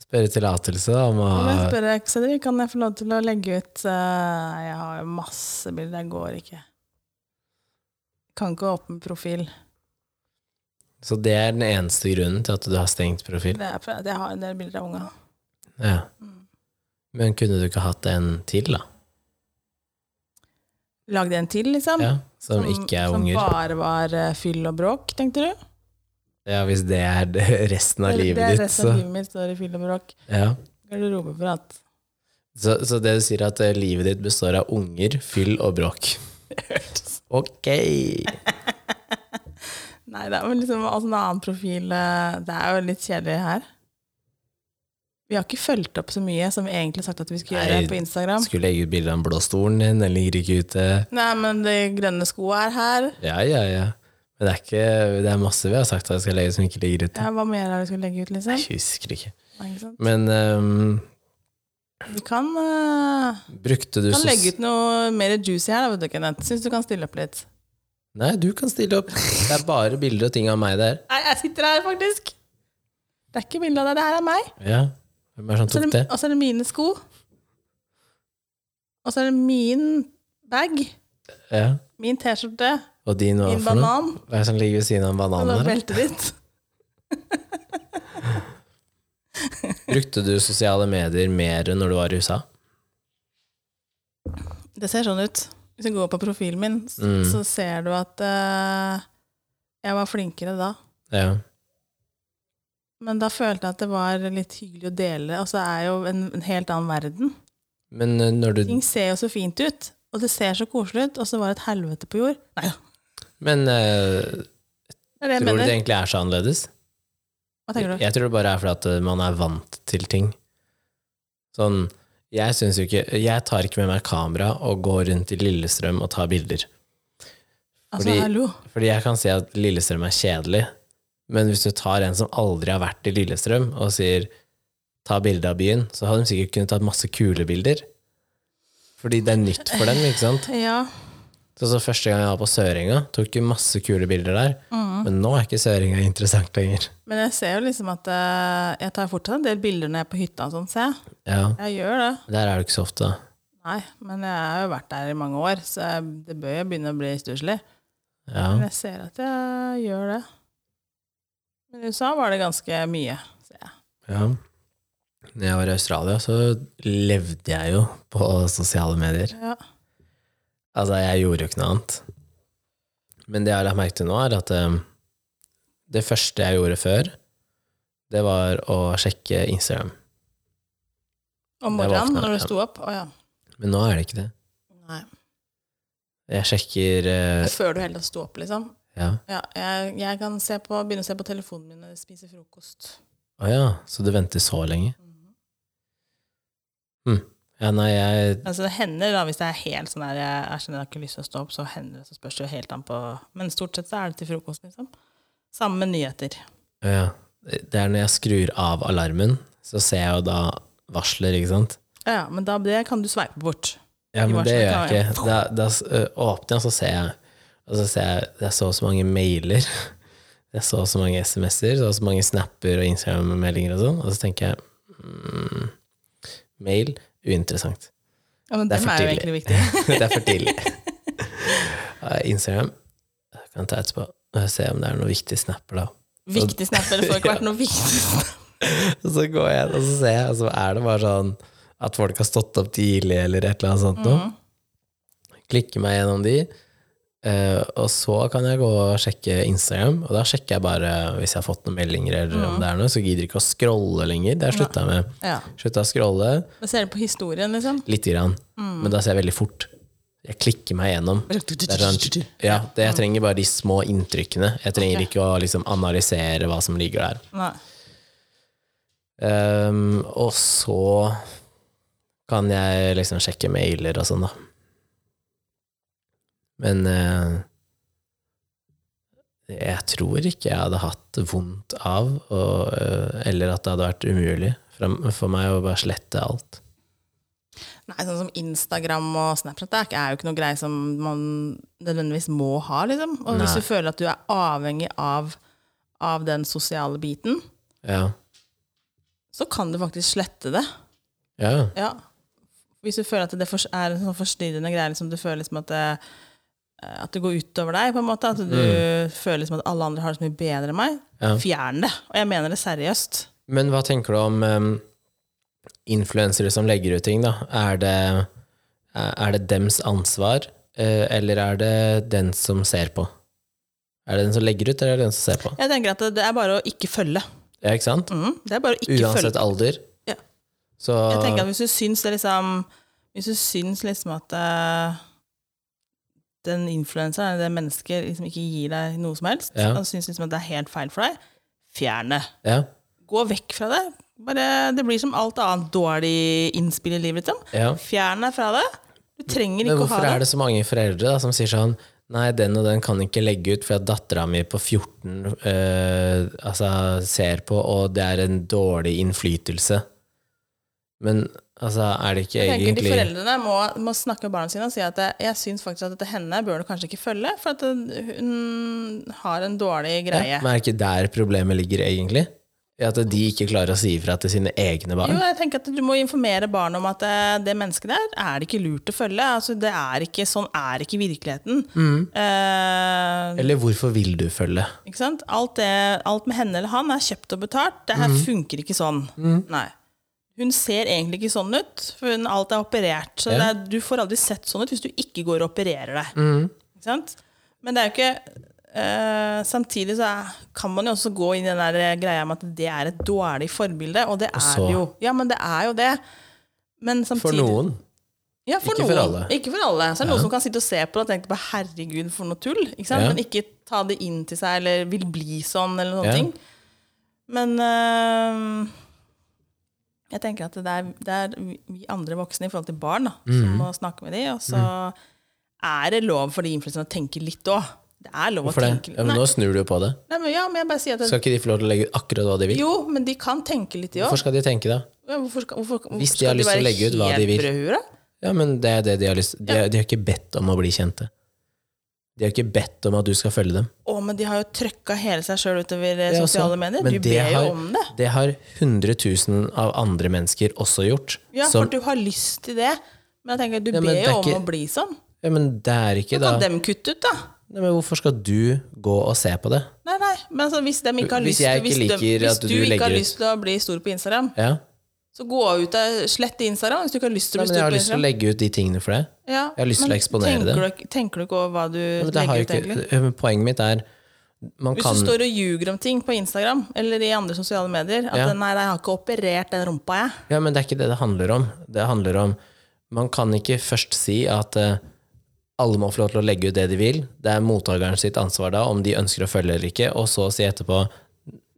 Speaker 1: Spørre tillatelse da, om å
Speaker 2: Kan jeg
Speaker 1: ha
Speaker 2: spørre, Cedric, kan jeg få lov til å legge ut eh, Nei, Jeg har jo masse bilder, jeg går ikke. Kan ikke åpne profil.
Speaker 1: Så det er den eneste grunnen til at du har stengt profil?
Speaker 2: Det er for at jeg har en del bilder av unga.
Speaker 1: Ja.
Speaker 2: Mm.
Speaker 1: Men kunne du ikke hatt en til, da?
Speaker 2: Lagde en til, liksom.
Speaker 1: Ja, som, ikke er
Speaker 2: som
Speaker 1: unger?
Speaker 2: bare var eh, fyll og bråk, tenkte du?
Speaker 1: Ja, hvis det er det- resten av
Speaker 2: Eller det
Speaker 1: livet
Speaker 2: er
Speaker 1: ditt,
Speaker 2: resten av
Speaker 1: så
Speaker 2: livet mitt står i fyll og bråk.
Speaker 1: ja.
Speaker 2: Garderobeprat.
Speaker 1: så, så det du sier, er at eh, livet ditt består av unger, fyll og bråk. Ok!
Speaker 2: Nei, det er jo liksom altså, en annen profil eh, Det er jo litt kjedelig her. Vi har ikke fulgt opp så mye som vi egentlig har sagt at vi skulle
Speaker 1: Nei.
Speaker 2: gjøre på Instagram.
Speaker 1: Skulle legge ut bilde av den blå stolen din, den ligger ikke ute.
Speaker 2: Nei, men de grønne skoa er her.
Speaker 1: Ja, ja, ja. Men det er, ikke, det er masse vi har sagt at jeg skal legge ut som ikke ligger ute.
Speaker 2: Ja, hva mer er det du skulle legge ut, liksom?
Speaker 1: Jeg husker ikke.
Speaker 2: Nei, ikke sant?
Speaker 1: Men ehm,
Speaker 2: Vi kan, eh,
Speaker 1: brukte du
Speaker 2: kan
Speaker 1: sos-
Speaker 2: legge ut noe mer juicy her, da, vet du, Kenneth. Syns du kan stille opp litt?
Speaker 1: Nei, du kan stille opp. Det er bare bilder og ting av meg der.
Speaker 2: Nei, jeg sitter her, faktisk. Det er ikke bilde av deg, det her er meg.
Speaker 1: Ja. Hvem er det som
Speaker 2: Så er
Speaker 1: tok
Speaker 2: det,
Speaker 1: det?
Speaker 2: og så er det mine sko. Og så er det min bag.
Speaker 1: Ja.
Speaker 2: Min T-skjorte.
Speaker 1: Og din hva
Speaker 2: Min
Speaker 1: for noe?
Speaker 2: banan.
Speaker 1: Hva er det som ligger ved siden av
Speaker 2: Og så
Speaker 1: bananen her?
Speaker 2: beltet ditt.
Speaker 1: Brukte du sosiale medier mer når du var i USA?
Speaker 2: Det ser sånn ut. Hvis du går på profilen min, så,
Speaker 1: Mm.
Speaker 2: så ser du at eh, jeg var flinkere da.
Speaker 1: Ja.
Speaker 2: Men da følte jeg at det var litt hyggelig å dele. Altså, det er jo en, en helt annen verden.
Speaker 1: Men eh, når du
Speaker 2: Ting ser jo så fint ut, og det ser så koselig ut, og så var det et helvete på jord. Nei da.
Speaker 1: Men eh,
Speaker 2: Det er det jeg
Speaker 1: tror du det
Speaker 2: mener.
Speaker 1: egentlig er så annerledes?
Speaker 2: Hva tenker du?
Speaker 1: Jeg tror det bare er fordi at uh, man er vant til ting. Sånn, jeg syns jo ikke Jeg tar ikke med meg kamera og går rundt i Lillestrøm og tar bilder.
Speaker 2: Altså,
Speaker 1: fordi-
Speaker 2: hallo.
Speaker 1: Fordi jeg kan si at Lillestrøm er kjedelig, men hvis du tar en som aldri har vært i Lillestrøm, og sier 'ta bilde av byen', så har de sikkert kunnet tatt masse kule bilder. Fordi det er nytt for dem, ikke sant?
Speaker 2: Ja.
Speaker 1: Så, så første gang jeg var på Sørenga, tok jeg masse kule bilder der, men nå er ikke Sørenga interessant lenger.
Speaker 2: Men jeg ser jo liksom at eh, jeg tar fortsatt en del bilder når jeg er på hytta og sånn, ser jeg.
Speaker 1: Ja,
Speaker 2: Jeg gjør det.
Speaker 1: Der er det ikke så ofte. da.
Speaker 2: Nei, men jeg har jo vært der i mange år, så jeg, det bør jo begynne å bli stusslig.
Speaker 1: Ja.
Speaker 2: Men jeg ser at jeg gjør det. Men i USA var det ganske mye, ser jeg.
Speaker 1: Ja. Når jeg var i Australia, så levde jeg jo på sosiale medier.
Speaker 2: Ja.
Speaker 1: Altså, jeg gjorde jo ikke noe annet. Men det jeg har lagt merke til nå, er at eh, det første jeg gjorde før, det var å sjekke Instagram.
Speaker 2: Om
Speaker 1: Det var
Speaker 2: morgenen
Speaker 1: ikke noe,
Speaker 2: når du
Speaker 1: ja.
Speaker 2: sto opp. Å ja.
Speaker 1: Men nå er det ikke det.
Speaker 2: Nei.
Speaker 1: Jeg sjekker eh,
Speaker 2: Før du heller sto opp, liksom.
Speaker 1: Ja.
Speaker 2: Ja, jeg, jeg kan se på, begynne å se på telefonen min når jeg spiser frokost.
Speaker 1: Å ja, så du venter så lenge? Hm. Ja, nei, jeg
Speaker 2: Altså det hender da, Hvis det er helt sånn der, jeg, jeg skjønner jeg har ikke lyst til å stå opp, så hender det, så spørs det jo helt an på Men stort sett så er det til frokost, liksom. Samme med nyheter.
Speaker 1: Å ja. Det er når jeg skrur av alarmen, så ser jeg jo da varsler, ikke sant?
Speaker 2: Ja, ja, men da, det kan du sveipe bort.
Speaker 1: Ja, men det gjør
Speaker 2: varsler,
Speaker 1: jeg ikke. Da, da s- ø, åpner jeg, og så ser jeg. Og så ser jeg det er så og så mange mailer. Det er så og så mange SMS-er, så og så mange snapper og Instagram-meldinger og sånn. Og så tenker jeg mm, mail uinteressant.
Speaker 2: Ja, men
Speaker 1: Det er
Speaker 2: dem
Speaker 1: for
Speaker 2: er jo
Speaker 1: tidlig.
Speaker 2: egentlig viktig.
Speaker 1: det er for tidlig. Eh, Instagram jeg kan ta etterpå og se om det er noen viktige snapper, da.
Speaker 2: Viktig snap, eller får ikke vært noe viktig snap.
Speaker 1: Og så går jeg inn og så ser jeg, og så er det bare sånn at folk har stått opp tidlig eller et eller annet sånt noe.
Speaker 2: Mhm.
Speaker 1: Klikker meg gjennom de, eh, og så kan jeg gå og sjekke Instagram, og da sjekker jeg bare hvis jeg har fått noen meldinger eller
Speaker 2: Mhm.
Speaker 1: om det er noe, så gidder jeg ikke å scrolle lenger. Det har jeg slutta med.
Speaker 2: Ja.
Speaker 1: Slutta å scrolle
Speaker 2: Men ser du på historien, liksom?
Speaker 1: lite grann, men da ser jeg veldig fort. Jeg klikker meg gjennom. Det er sånn, ja, det, jeg trenger bare de små inntrykkene. Jeg trenger ikke å liksom analysere hva som ligger der.
Speaker 2: Nei.
Speaker 1: Ehm, og så kan jeg liksom sjekke mailer og sånn, da. Men eh, jeg tror ikke jeg hadde hatt vondt av, og, eh, eller at det hadde vært umulig for, for meg å bare slette alt.
Speaker 2: Nei, sånn som Instagram og Snapchat det er ikke- er jo ikke noe greie som man nødvendigvis må ha, liksom. Og hvis
Speaker 1: Nei.
Speaker 2: du føler at du er avhengig av, av den sosiale biten,
Speaker 1: Ja.
Speaker 2: så kan du faktisk slette det.
Speaker 1: Ja.
Speaker 2: Ja. Hvis du føler at det for- er en sånn forstyrrende greie, liksom du føler liksom at det, eh, at det går utover deg, på en måte, at du føler liksom at alle andre har det så mye bedre enn meg,
Speaker 1: Mm. Ja.
Speaker 2: fjern det. Og jeg mener det seriøst.
Speaker 1: Men hva tenker du om em, influensere som legger ut ting, da? Er det, er det dems ansvar, eh, eller er det den som ser på? Er det den som legger ut, eller er det den som ser på?
Speaker 2: Jeg tenker at det, det er bare å ikke følge.
Speaker 1: Ja, ikke sant?
Speaker 2: Mm, det er bare å ikke følge.
Speaker 1: Uansett alder.
Speaker 2: Ja.
Speaker 1: Så
Speaker 2: Jeg tenker at hvis du syns det liksom Hvis du syns liksom at eh, den influenseren eller det mennesket liksom ikke gir deg noe som helst,
Speaker 1: Ja.
Speaker 2: og syns liksom at det er helt feil for deg, fjern det.
Speaker 1: ja,
Speaker 2: Gå vekk fra det. Bare, det blir som alt annet dårlig innspill i livet. Liksom.
Speaker 1: ja.
Speaker 2: Fjern deg fra det. Du trenger
Speaker 1: Men
Speaker 2: ikke å ha
Speaker 1: hvorfor er
Speaker 2: det.
Speaker 1: det så mange foreldre da, som sier sånn Nei, den og den kan ikke legge ut fordi at dattera mi på 14 eh, altså, ser på, og det er en dårlig innflytelse. Men altså, er det ikke
Speaker 2: Jeg tenker de
Speaker 1: egentlig
Speaker 2: Foreldrene må, må snakke med barna sine og si at eh, jeg syns faktisk at dette henne bør du kanskje ikke følge, for at eh, hun har en dårlig greie.
Speaker 1: Ja, men er det ikke der problemet ligger, egentlig? I At de ikke klarer å si ifra til sine egne
Speaker 2: Jo,
Speaker 1: barn?
Speaker 2: jeg tenker at Du må informere barnet om at eh, det mennesket der er det ikke lurt å følge. Altså, det er ikke, sånn er ikke virkeligheten. Eh,
Speaker 1: Eller hvorfor vil du følge?
Speaker 2: ikke sant? Alt, det, alt med henne eller han er kjøpt og betalt. Det
Speaker 1: Mhm.
Speaker 2: her funker ikke sånn. Nei. Hun ser egentlig ikke sånn ut, for hun, alt er operert. Så det er, du får aldri sett sånn ut hvis du ikke går og opererer deg.
Speaker 1: Mhm.
Speaker 2: Ikke sant? Men det er jo ikke eh, Samtidig så er, kan man jo også gå inn i den der greia med at det er et dårlig forbilde, og det er
Speaker 1: så-
Speaker 2: det jo. Ja, men det er jo det. Men samtidig
Speaker 1: For noen.
Speaker 2: ja, for
Speaker 1: Ikke
Speaker 2: noen.
Speaker 1: for alle.
Speaker 2: Ikke for alle. Så er det noen som kan sitte og se på det og tenke på 'herregud, for noe tull', ikke sant?
Speaker 1: Ja.
Speaker 2: men ikke ta det inn til seg eller vil bli sånn eller noen
Speaker 1: Ja.
Speaker 2: ting. Men øhm, jeg tenker at det er, det er vi- vi andre voksne i forhold til barn da,
Speaker 1: Mm.
Speaker 2: som må snakke med dem. Og så er det lov for de influenserne å tenke litt òg. Det er lov
Speaker 1: For
Speaker 2: å
Speaker 1: det.
Speaker 2: tenke litt.
Speaker 1: Ja, men
Speaker 2: Nei,
Speaker 1: nå snur du jo på det.
Speaker 2: nei, men, ja, men jeg bare sier at det,
Speaker 1: Skal ikke de få lov til å legge ut akkurat hva de vil?
Speaker 2: Jo, men de kan tenke litt, de òg.
Speaker 1: Hvorfor skal de tenke da?
Speaker 2: Hvorfor skal, hvorfor, hvorfor
Speaker 1: Hvis de
Speaker 2: skal
Speaker 1: har lyst til å
Speaker 2: være
Speaker 1: legge ut hva de vil.
Speaker 2: helt brødhue, da?
Speaker 1: Ja, men det er det de har lyst De, de har ikke bedt om å bli kjente. De har ikke bedt om at du skal følge dem.
Speaker 2: Å, men de har jo trøkka hele seg sjøl utover eh,
Speaker 1: Ja,
Speaker 2: sosiale
Speaker 1: sånn.
Speaker 2: medier.
Speaker 1: Men
Speaker 2: Du
Speaker 1: det
Speaker 2: ber jo
Speaker 1: har-
Speaker 2: om det.
Speaker 1: Det har 100 000 av andre mennesker også gjort.
Speaker 2: Ja,
Speaker 1: som,
Speaker 2: for du har lyst til det. Men jeg tenker, du
Speaker 1: Ja, men
Speaker 2: ber
Speaker 1: det er
Speaker 2: jo om
Speaker 1: ikke-
Speaker 2: å bli sånn.
Speaker 1: ja, men det er ikke
Speaker 2: Så
Speaker 1: da
Speaker 2: kan dem kutte ut, da.
Speaker 1: Nei, men Hvorfor skal du gå og se på det?
Speaker 2: Nei, nei, men altså, hvis dem ikke har
Speaker 1: Hvis
Speaker 2: lyst
Speaker 1: jeg ikke
Speaker 2: dem-
Speaker 1: liker
Speaker 2: hvis
Speaker 1: at du
Speaker 2: du ikke har
Speaker 1: legger ut-
Speaker 2: lyst til å bli stor på Instagram,
Speaker 1: Ja,
Speaker 2: så gå ut av slett Instagram hvis du ikke har lyst til å
Speaker 1: Nei, men Jeg
Speaker 2: bli stor
Speaker 1: har
Speaker 2: på
Speaker 1: lyst til å
Speaker 2: Instagram.
Speaker 1: legge ut de tingene for deg.
Speaker 2: Ja,
Speaker 1: jeg har lyst til
Speaker 2: men
Speaker 1: å eksponere det.
Speaker 2: tenker Du, ikke- tenker du ikke over hva du
Speaker 1: Men det har
Speaker 2: legger
Speaker 1: jo
Speaker 2: ut, egentlig?
Speaker 1: ikke, men poenget mitt er man
Speaker 2: Hvis
Speaker 1: kan,
Speaker 2: du står og ljuger om ting på Instagram eller i andre sosiale medier At
Speaker 1: Ja.
Speaker 2: 'nei, nei, jeg har ikke operert den rumpa, jeg'.
Speaker 1: Ja, men det er ikke det det handler om. Det handler om Man kan ikke først si at eh, alle må få lov til å legge ut det de vil. Det er mottakeren sitt ansvar da, om de ønsker å følge eller ikke, og så si etterpå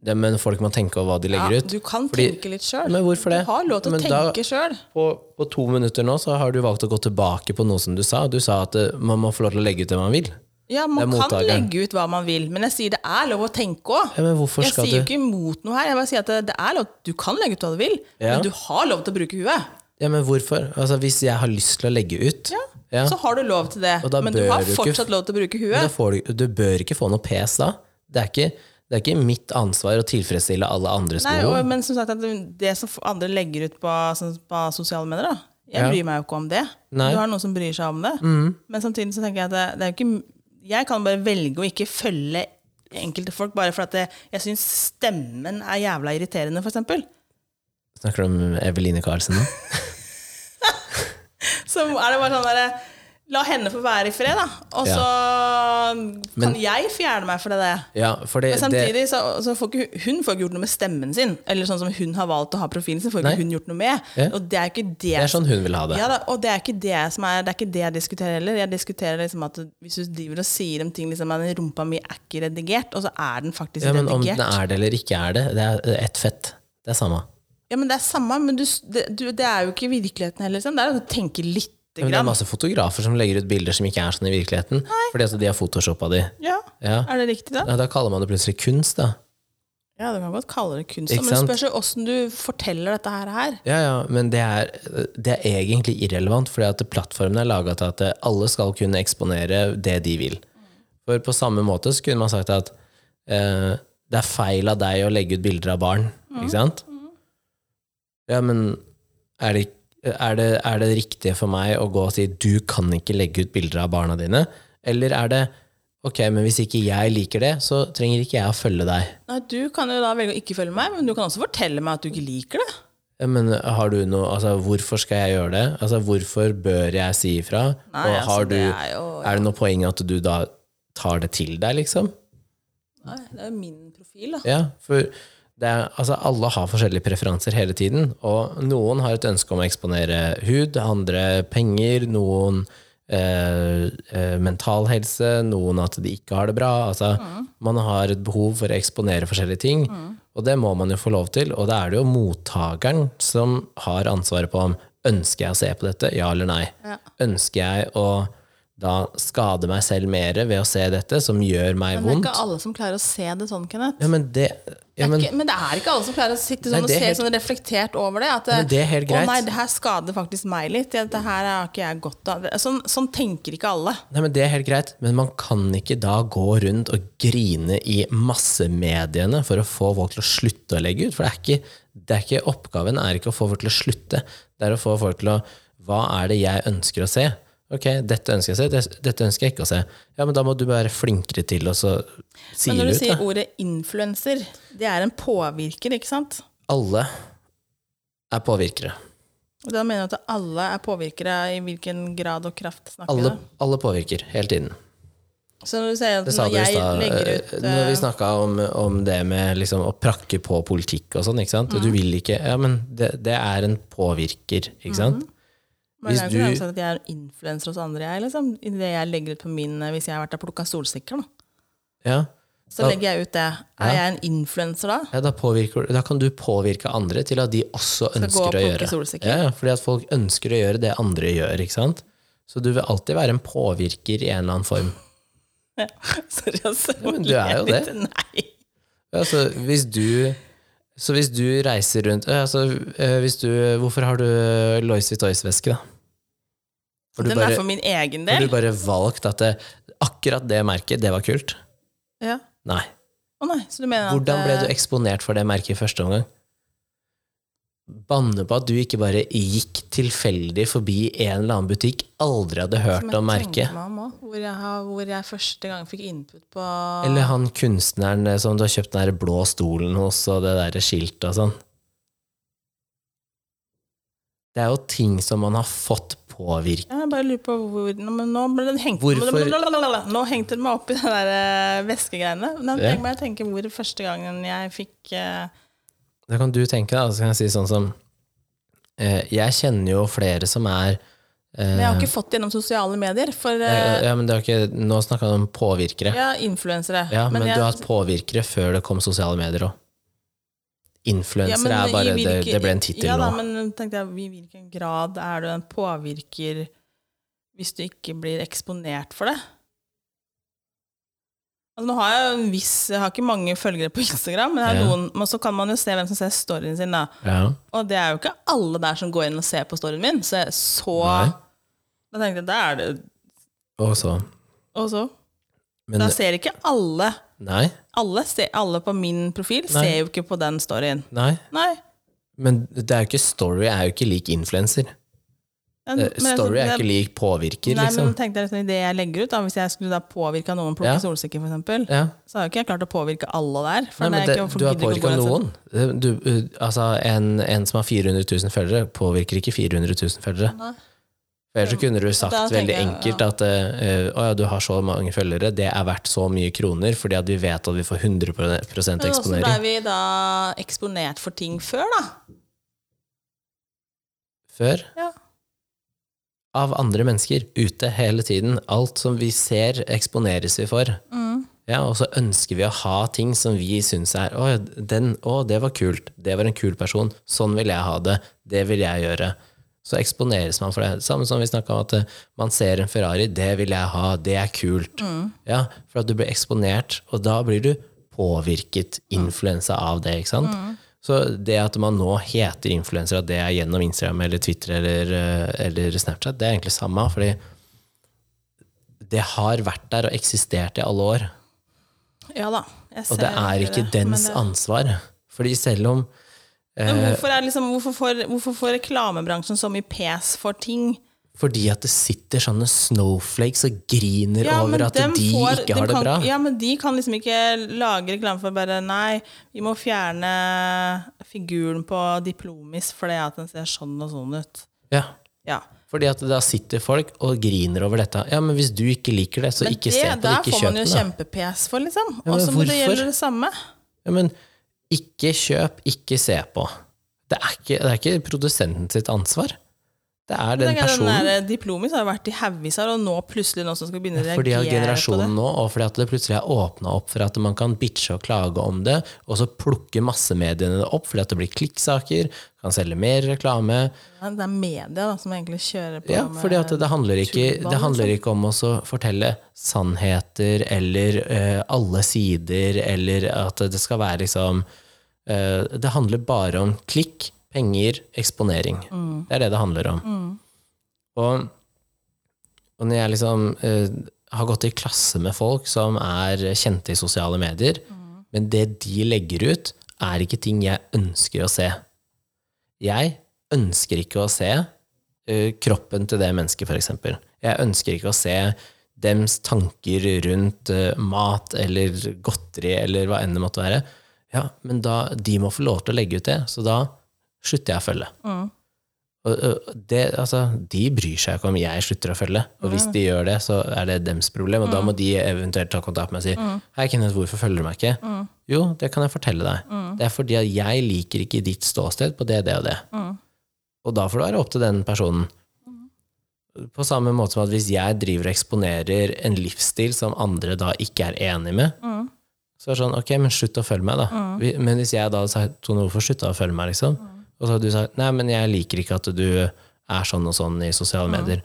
Speaker 1: det, Men folk må tenke over hva de legger
Speaker 2: Ja,
Speaker 1: ut.
Speaker 2: du kan
Speaker 1: Fordi-
Speaker 2: tenke litt sjøl.
Speaker 1: Men hvorfor det?
Speaker 2: Du har lov til
Speaker 1: Men
Speaker 2: å
Speaker 1: da-
Speaker 2: tenke sjøl.
Speaker 1: På, på to minutter nå så har du valgt å gå tilbake på noe som du sa. Du sa at eh, man må få lov til å legge ut det man vil.
Speaker 2: Ja,
Speaker 1: Det er
Speaker 2: man kan
Speaker 1: mottakeren.
Speaker 2: legge ut hva man vil, men jeg sier det er lov å tenke òg.
Speaker 1: Ja, men hvorfor
Speaker 2: Jeg
Speaker 1: skal
Speaker 2: sier jo
Speaker 1: du
Speaker 2: ikke imot noe her. Jeg bare sier at det, det er lov, Du kan legge ut hva du vil,
Speaker 1: Ja.
Speaker 2: men du har lov til å bruke huet.
Speaker 1: Ja, men hvorfor? Altså, hvis jeg har lyst til å legge ut,
Speaker 2: Ja.
Speaker 1: Ja.
Speaker 2: Så har du lov til det,
Speaker 1: Og da
Speaker 2: men du
Speaker 1: bør
Speaker 2: har
Speaker 1: du ikke-
Speaker 2: fortsatt lov til å bruke
Speaker 1: Men
Speaker 2: huet.
Speaker 1: da får du, du bør ikke få noe pes da. Det er ikke, det er ikke mitt ansvar å tilfredsstille alle andres
Speaker 2: Nei, og,
Speaker 1: behov.
Speaker 2: men som sagt, at det som andre legger ut på, sånn, på sosiale medier, da, jeg
Speaker 1: Ja.
Speaker 2: bryr meg jo ikke om det.
Speaker 1: Nei. Mm.
Speaker 2: Du har noen som bryr seg om det. Men samtidig så tenker jeg at det, det er jo ikke Jeg kan bare velge å ikke følge enkelte folk bare fordi at det- jeg syns stemmen er jævla irriterende, for eksempel.
Speaker 1: Snakker du om Eveline Karlsen nå?
Speaker 2: Så er det bare sånn derre La henne få være i fred, da. Og så kan
Speaker 1: Men-
Speaker 2: jeg fjerne meg for det. der.
Speaker 1: Ja, for det,
Speaker 2: Men
Speaker 1: det,
Speaker 2: samtidig så, så får ikke, hun får ikke gjort noe med stemmen sin. Eller sånn som hun har valgt å ha profilen sin, får ikke
Speaker 1: Nei.
Speaker 2: hun gjort noe med.
Speaker 1: Ja.
Speaker 2: Og det er ikke det,
Speaker 1: det er sånn hun vil ha det.
Speaker 2: ja, da, og det er ikke det som er Det er ikke det jeg diskuterer heller. Jeg diskuterer liksom at hvis du driver og sier om ting liksom at rumpa mi er ikke redigert, og så er den faktisk
Speaker 1: Ja, men om den
Speaker 2: redigert.
Speaker 1: er det eller ikke er det, det er ett fett. Det er samme.
Speaker 2: Ja, men det er samme, men du, s- det, du, det er jo ikke virkeligheten heller. Liksom. Det er å tenke lite
Speaker 1: Men det er
Speaker 2: grann.
Speaker 1: masse fotografer som legger ut bilder som ikke er sånn i virkeligheten, fordi at de har photoshoppa de.
Speaker 2: Ja.
Speaker 1: Ja.
Speaker 2: Er det riktig, da?
Speaker 1: Ja, da kaller man det plutselig kunst, da.
Speaker 2: Ja, du kan godt kalle det kunst,
Speaker 1: Ikke
Speaker 2: men det
Speaker 1: sant?
Speaker 2: spørs jo åssen du forteller dette her. her.
Speaker 1: Ja, ja, men det er, det er egentlig irrelevant, fordi at plattformen er laga til at alle skal kunne eksponere det de vil. For på samme måte så kunne man sagt at eh, det er feil av deg å legge ut bilder av barn, ikke sant? Ja, men er det, er, det, er det riktig for meg å gå og si du kan ikke legge ut bilder av barna dine? Eller er det ok, men hvis ikke jeg liker det, så trenger ikke jeg å følge deg?
Speaker 2: Nei, du kan jo da velge å ikke følge meg, men du kan også fortelle meg at du ikke liker det.
Speaker 1: Ja, Men har du noe, altså Hvorfor skal jeg gjøre det? Altså Hvorfor bør jeg si ifra?
Speaker 2: Nei,
Speaker 1: og
Speaker 2: altså,
Speaker 1: har du,
Speaker 2: det er jo
Speaker 1: er det noe poeng at du da tar det til deg, liksom?
Speaker 2: Nei, Det er jo min profil, da.
Speaker 1: Ja, for det er, altså alle har forskjellige preferanser hele tiden, og noen har et ønske om å eksponere hud, andre penger, noen eh, eh, mental helse, noen at de ikke har det bra. Altså,
Speaker 2: Mm.
Speaker 1: Man har et behov for å eksponere forskjellige ting, og det må man jo få lov til, og da er det jo mottakeren som har ansvaret på om ønsker jeg å se på dette, ja eller nei.
Speaker 2: Ja.
Speaker 1: Ønsker jeg å da skade meg selv mer ved å se dette, som gjør meg
Speaker 2: Men det er
Speaker 1: vondt?
Speaker 2: ikke alle som klarer å se det sånn, Kenneth.
Speaker 1: Ja, men det, ja,
Speaker 2: Det er
Speaker 1: men,
Speaker 2: ikke, men det er ikke alle som klarer å sitte
Speaker 1: Nei,
Speaker 2: sånn og
Speaker 1: det er
Speaker 2: se
Speaker 1: helt-
Speaker 2: sånn reflektert over det. At
Speaker 1: Men det er helt greit.
Speaker 2: Å nei, det her skader faktisk meg litt. Ja, Det her har ikke jeg godt av. Det- Sånn, sånn tenker ikke alle.
Speaker 1: Nei, men Det er helt greit, men man kan ikke da gå rundt og grine i massemediene for å få folk til å slutte å legge ut. For det er ikke, det er ikke oppgaven er ikke å få folk til å slutte. Det er å få folk til å Hva er det jeg ønsker å se? Ok, dette ønsker jeg å se, det- dette ønsker jeg ikke å se. Ja, men da må du være flinkere til å så si
Speaker 2: Men når du
Speaker 1: det ut,
Speaker 2: sier
Speaker 1: da.
Speaker 2: ordet influenser, det er en påvirker, ikke sant?
Speaker 1: Alle er påvirkere.
Speaker 2: Og da mener du at alle er påvirkere i hvilken grad og kraft snakker
Speaker 1: Alle,
Speaker 2: det?
Speaker 1: alle påvirker hele tiden.
Speaker 2: Så når du sier at
Speaker 1: Det sa
Speaker 2: når
Speaker 1: dere i
Speaker 2: jeg legger
Speaker 1: stad,
Speaker 2: ut
Speaker 1: eh,
Speaker 2: eh,
Speaker 1: når vi snakka om, om det med liksom å prakke på politikk og sånn. ikke sant?
Speaker 2: Mhm.
Speaker 1: Du vil ikke Ja, men det, det er en påvirker, ikke sant?
Speaker 2: Men
Speaker 1: Hvis
Speaker 2: jeg er jo ikke
Speaker 1: du-
Speaker 2: sånn at jeg er en influenser hos andre, jeg, liksom. I det jeg legger ut på min eh, Hvis jeg har vært og plukka solsikker, da.
Speaker 1: Ja.
Speaker 2: Så legger jeg ut det. Er jeg en influenser da?
Speaker 1: ja da, påvirker, du- da kan du påvirke andre til at de også
Speaker 2: gå og
Speaker 1: ønsker å
Speaker 2: plukke
Speaker 1: gjøre
Speaker 2: solsikker.
Speaker 1: Ja, ja, fordi at folk ønsker å gjøre det andre gjør, ikke sant? Så du vil alltid være en påvirker i en eller annen form.
Speaker 2: Sorry, altså.
Speaker 1: men du er jo det.
Speaker 2: Nei.
Speaker 1: Ja, så hvis du så hvis du reiser rundt ja, altså, eh, hvis du, Hvorfor har du Lois Vitois-veske, da? Har du
Speaker 2: Den
Speaker 1: bare-
Speaker 2: er for min egen
Speaker 1: Har
Speaker 2: del.
Speaker 1: du bare valgt at det, akkurat det merket, det var kult?
Speaker 2: Ja.
Speaker 1: Nei.
Speaker 2: Å nei, så du mener
Speaker 1: Hvordan
Speaker 2: at
Speaker 1: ble du
Speaker 2: eh,
Speaker 1: eksponert for det merket i første omgang? Banne på at du ikke bare gikk tilfeldig forbi en eller annen butikk, aldri hadde
Speaker 2: som
Speaker 1: hørt
Speaker 2: jeg
Speaker 1: om
Speaker 2: tenkte
Speaker 1: merket.
Speaker 2: meg om også, Hvor jeg, har, hvor jeg første gang fikk input på
Speaker 1: Eller han kunstneren eh, som du har kjøpt den der blå stolen hos, og det der skiltet og sånn. Det er jo ting som man har fått påvirket.
Speaker 2: Ja, Jeg bare lurer på hvor Nå, men nå ble den hengt
Speaker 1: Hvorfor-
Speaker 2: Nå hengte den meg opp i de der eh, veskegreiene. Nå
Speaker 1: Ja.
Speaker 2: tenker jeg bare tenke hvor første gangen jeg fikk eh,
Speaker 1: Da kan du tenke deg, og så kan jeg si sånn som eh, Jeg kjenner jo flere som er eh,
Speaker 2: Men jeg har ikke fått det gjennom sosiale medier, for
Speaker 1: ja,
Speaker 2: eh,
Speaker 1: ja, men det er ikke, Nå snakker vi om påvirkere. Ja,
Speaker 2: ja, influensere.
Speaker 1: men,
Speaker 2: jeg,
Speaker 1: du har hatt påvirkere før det kom sosiale medier òg.
Speaker 2: Ja, men
Speaker 1: Influensere
Speaker 2: i
Speaker 1: er bare det,
Speaker 2: hvilke-
Speaker 1: det ble en tittel
Speaker 2: ja, da,
Speaker 1: nå.
Speaker 2: Men tenkte jeg, i hvilken grad er du en påvirker hvis du ikke blir eksponert for det? Altså, nå har jeg jo en viss Jeg har ikke mange følgere på Instagram, men, jeg har
Speaker 1: Ja.
Speaker 2: noen, men så kan man jo se hvem som ser storyen sin, da.
Speaker 1: Ja.
Speaker 2: Og det er jo ikke alle der som går inn og ser på storyen min, så jeg så
Speaker 1: Nei.
Speaker 2: Da tenkte jeg, da er det
Speaker 1: Og så
Speaker 2: Og så?
Speaker 1: Men
Speaker 2: Da ser ikke alle
Speaker 1: nei,
Speaker 2: alle, ser, alle på min profil
Speaker 1: Nei.
Speaker 2: ser jo ikke på den storyen.
Speaker 1: nei.
Speaker 2: Nei.
Speaker 1: Men det er jo ikke story er jo ikke lik influenser.
Speaker 2: Men-
Speaker 1: Eh,
Speaker 2: men jeg-
Speaker 1: Story er
Speaker 2: det-
Speaker 1: ikke lik påvirker,
Speaker 2: Nei, men
Speaker 1: liksom.
Speaker 2: tenkte jeg liksom, i det jeg legger ut da, Hvis jeg skulle da påvirke noen å
Speaker 1: Ja.
Speaker 2: plukke solsikker, for eksempel,
Speaker 1: Ja.
Speaker 2: så har jo ikke jeg klart å påvirke alle der. For
Speaker 1: Nei, men det,
Speaker 2: er ikke,
Speaker 1: du har
Speaker 2: folk gidder ikke å
Speaker 1: påvirka
Speaker 2: gå sånn.
Speaker 1: noen. Du, uh, altså, en, en som har 400 000 følgere, påvirker ikke 400 000 følgere.
Speaker 2: Nei.
Speaker 1: For Ellers så kunne du
Speaker 2: Da
Speaker 1: sagt
Speaker 2: tenker
Speaker 1: veldig
Speaker 2: jeg, ja.
Speaker 1: enkelt at uh, å ja, du har så mange følgere, det er verdt så mye kroner, fordi at vi vet at vi får 100
Speaker 2: Men også ble
Speaker 1: eksponering.
Speaker 2: vi da eksponert for ting før, da.
Speaker 1: Før
Speaker 2: Ja.
Speaker 1: av andre mennesker, ute hele tiden. Alt som vi ser, eksponeres vi for. Ja, og så ønsker vi å ha ting som vi syns er å, den, å, det var kult. Det var en kul person. Sånn vil jeg ha det. Det vil jeg gjøre. Så eksponeres man for det. Samme som vi snakka om at eh, man ser en Ferrari. Det vil jeg ha. Det er kult. Ja, For at du blir eksponert, og da blir du påvirket, influensa av det. ikke sant?
Speaker 2: Mm.
Speaker 1: Så det at man nå heter influenser, at det er gjennom Instagram eller Twitter eller, eh, eller Snapchat, det er egentlig samme. fordi det har vært der og eksistert i alle år.
Speaker 2: Ja da. Jeg
Speaker 1: Og det er ikke dens Eh,
Speaker 2: men det-
Speaker 1: ansvar. Fordi selv om
Speaker 2: Men hvorfor, er liksom, hvorfor, får, hvorfor får reklamebransjen så mye pes for ting?
Speaker 1: Fordi at det sitter sånne snowflakes og griner over at
Speaker 2: dem
Speaker 1: de
Speaker 2: får-
Speaker 1: ikke har
Speaker 2: dem
Speaker 1: det
Speaker 2: kan,
Speaker 1: bra.
Speaker 2: Ja, men de kan liksom ikke lage reklame for bare Nei, vi må fjerne figuren på Diplomis fordi at den ser sånn og sånn ut.
Speaker 1: Ja.
Speaker 2: Ja.
Speaker 1: Fordi at da sitter folk og griner over dette. Ja, men hvis du ikke liker det, så
Speaker 2: Men
Speaker 1: ikke
Speaker 2: det,
Speaker 1: se på det,
Speaker 2: der
Speaker 1: ikke
Speaker 2: får man
Speaker 1: kjøp
Speaker 2: jo
Speaker 1: det.
Speaker 2: kjempe-PS for, liksom.
Speaker 1: Ja,
Speaker 2: og
Speaker 1: men
Speaker 2: så må det
Speaker 1: hvorfor?
Speaker 2: gjelde det samme.
Speaker 1: Ja, men ikke kjøp, ikke se på. Det er ikke, det er ikke produsenten sitt ansvar. Det er den
Speaker 2: Tenk at Den
Speaker 1: personen.
Speaker 2: der eh, Diplomis har jo vært i haugvis her, og nå plutselig noen som skal begynne å
Speaker 1: Fordi av
Speaker 2: reagere på det.
Speaker 1: generasjonen nå, og fordi at det plutselig er åpna opp for at man kan bitche og klage om det, og så plukker massemediene det opp fordi at det blir klikksaker, kan selge mer reklame.
Speaker 2: Ja, Det er media da, som egentlig kjører på
Speaker 1: Ja,
Speaker 2: med liksom.
Speaker 1: fordi at det handler ikke,
Speaker 2: tullball,
Speaker 1: det handler ikke om å så fortelle sannheter eller eh, alle sider, eller at det skal være liksom eh, Det handler bare om klikk, penger, eksponering.
Speaker 2: Mm.
Speaker 1: Det er det det handler om. Og, og når jeg liksom eh, har gått i klasse med folk som er kjente i sosiale medier,
Speaker 2: Mm.
Speaker 1: men det de legger ut, er ikke ting jeg ønsker å se. Jeg ønsker ikke å se eh, kroppen til det mennesket, for eksempel. Jeg ønsker ikke å se dems tanker rundt eh, mat eller godteri eller hva enn det måtte være. Ja, men da, de må få lov til å legge ut det, så da slutter jeg å følge. Og, og det, altså, de bryr seg ikke om jeg slutter å følge. Og hvis de gjør det, så er det dems problem, og da må de eventuelt ta kontakt med meg og si Hei, Kenneth, hvorfor følger du meg ikke? Jo, det kan jeg fortelle deg. Det er fordi at jeg liker ikke ditt ståsted på det, det og det. Og da får det være opp til den personen. På samme måte som at hvis jeg driver og eksponerer en livsstil som andre da ikke er enig med, så er det sånn Ok, men slutt å følge meg, da. Vi- Men hvis jeg da hadde sagt Tone, hvorfor slutta du å følge meg, liksom? Og så hadde du sagt Nei, men jeg liker ikke at du er sånn og sånn i sosiale medier.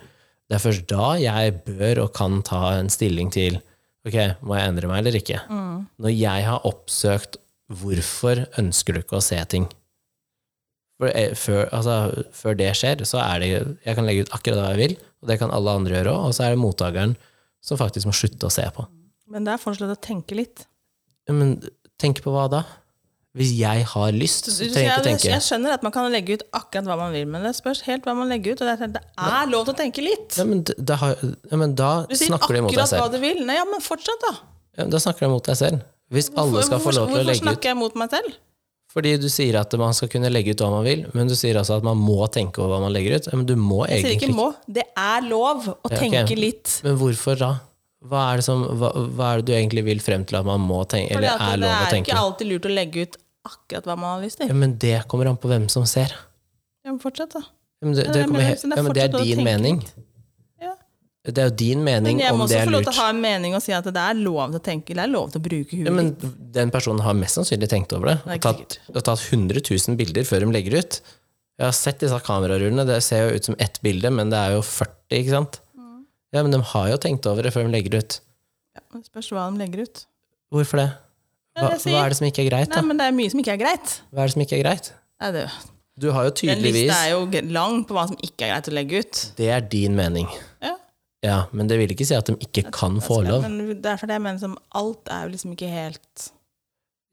Speaker 1: Det er først da jeg bør og kan ta en stilling til Ok, må jeg endre meg eller ikke? Når jeg har oppsøkt hvorfor ønsker du ikke å se ting? For, eh, før, altså, før det skjer, så er det Jeg kan legge ut akkurat hva jeg vil, og det kan alle andre gjøre òg, og så er det mottakeren som faktisk må slutte å se på.
Speaker 2: Men det er fortsatt å tenke litt.
Speaker 1: Ja, Men tenk på hva da? Hvis jeg har lyst, så
Speaker 2: Du-
Speaker 1: trenger jeg
Speaker 2: jeg,
Speaker 1: ikke tenke.
Speaker 2: jeg skjønner at man kan legge ut akkurat hva man vil, men det spørs helt hva man legger ut. Og det er, sånn, det er lov til å tenke litt!
Speaker 1: Ja, men, d- da har, ja, men da
Speaker 2: Du sier
Speaker 1: snakker du imot deg
Speaker 2: akkurat hva
Speaker 1: selv.
Speaker 2: du vil. Nei, ja, men fortsatt, da.
Speaker 1: Ja, da snakker du imot deg selv. Hvis alle skal få
Speaker 2: Hvorfor-
Speaker 1: lov til å
Speaker 2: Hvorfor
Speaker 1: legge ut
Speaker 2: snakker jeg mot meg selv?
Speaker 1: Fordi du sier at man skal kunne legge ut hva man vil, men du sier altså at man må tenke over hva man legger ut. Ja, men du må
Speaker 2: Jeg sier
Speaker 1: egentlig
Speaker 2: ikke må. Det er lov å
Speaker 1: ok.
Speaker 2: tenke litt.
Speaker 1: Men hvorfor da? Hva er, det som, hva, hva er det du egentlig vil frem til at man må tenke,
Speaker 2: Fordi
Speaker 1: eller
Speaker 2: at
Speaker 1: er
Speaker 2: det
Speaker 1: lov å
Speaker 2: er ikke
Speaker 1: tenke?
Speaker 2: alltid lurt å legge ut akkurat hva man har lyst til.
Speaker 1: Ja, men det kommer an på hvem som ser.
Speaker 2: Ja, men fortsett, da.
Speaker 1: Ja, men det,
Speaker 2: Ja,
Speaker 1: det,
Speaker 2: jeg
Speaker 1: kommer,
Speaker 2: mener,
Speaker 1: he-
Speaker 2: så det er
Speaker 1: ja, men det er
Speaker 2: fortsatt å
Speaker 1: din
Speaker 2: tenke
Speaker 1: mening.
Speaker 2: Ja.
Speaker 1: Det er jo din mening
Speaker 2: Men jeg
Speaker 1: om
Speaker 2: må
Speaker 1: det
Speaker 2: også
Speaker 1: er
Speaker 2: få lov til
Speaker 1: lurt.
Speaker 2: å ha en mening og si at det er lov til å tenke, det er lov til å bruke huet.
Speaker 1: Ja, men den personen har mest sannsynlig tenkt over det.
Speaker 2: Nei,
Speaker 1: Og
Speaker 2: ikke
Speaker 1: tatt, og tatt 100 000 bilder før de legger ut. Jeg har sett disse kamerarullene, det ser jo ut som ett bilde, men det er jo 40, ikke sant? Ja, men de har jo tenkt over det før de legger ut.
Speaker 2: Ja, det spørs hva de legger ut.
Speaker 1: Hvorfor det?
Speaker 2: Ja,
Speaker 1: Hva,
Speaker 2: det jeg
Speaker 1: hva
Speaker 2: sier.
Speaker 1: er det som ikke er greit,
Speaker 2: Nei,
Speaker 1: da?
Speaker 2: men det er mye som ikke er greit.
Speaker 1: Hva er det som ikke er greit?
Speaker 2: Nei, det,
Speaker 1: Du har jo
Speaker 2: den lista
Speaker 1: tydeligvis
Speaker 2: er jo g- lang på hva som ikke er greit å legge ut.
Speaker 1: Det er din mening.
Speaker 2: Ja,
Speaker 1: Ja, men det vil ikke si at de ikke kan få lov.
Speaker 2: Men derfor det jeg mener som alt er jo liksom ikke helt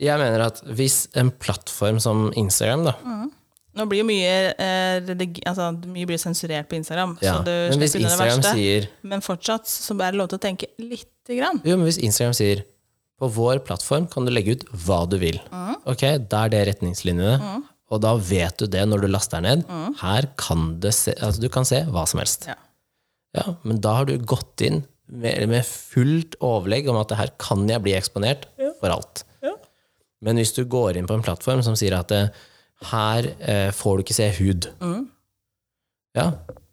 Speaker 1: Jeg mener at hvis en plattform som Instagram, da
Speaker 2: Mm, Nå blir jo mye eh, redig, altså, Mye blir sensurert på Instagram,
Speaker 1: ja,
Speaker 2: så du
Speaker 1: Men hvis
Speaker 2: slipper unna det
Speaker 1: Instagram
Speaker 2: verste.
Speaker 1: sier
Speaker 2: Men fortsatt så er det lov til å tenke lite grann.
Speaker 1: Jo, men hvis Instagram sier på vår plattform kan du legge ut hva du vil. Ok, Da er det retningslinjene. Og da vet du det når du laster ned. Her kan det se, altså du kan se hva som helst.
Speaker 2: Ja.
Speaker 1: Ja, men da har du gått inn med, med fullt overlegg om at det her kan jeg bli eksponert for alt.
Speaker 2: Ja.
Speaker 1: Men hvis du går inn på en plattform som sier at eh, her eh, får du ikke se hud,
Speaker 2: Mm.
Speaker 1: ja,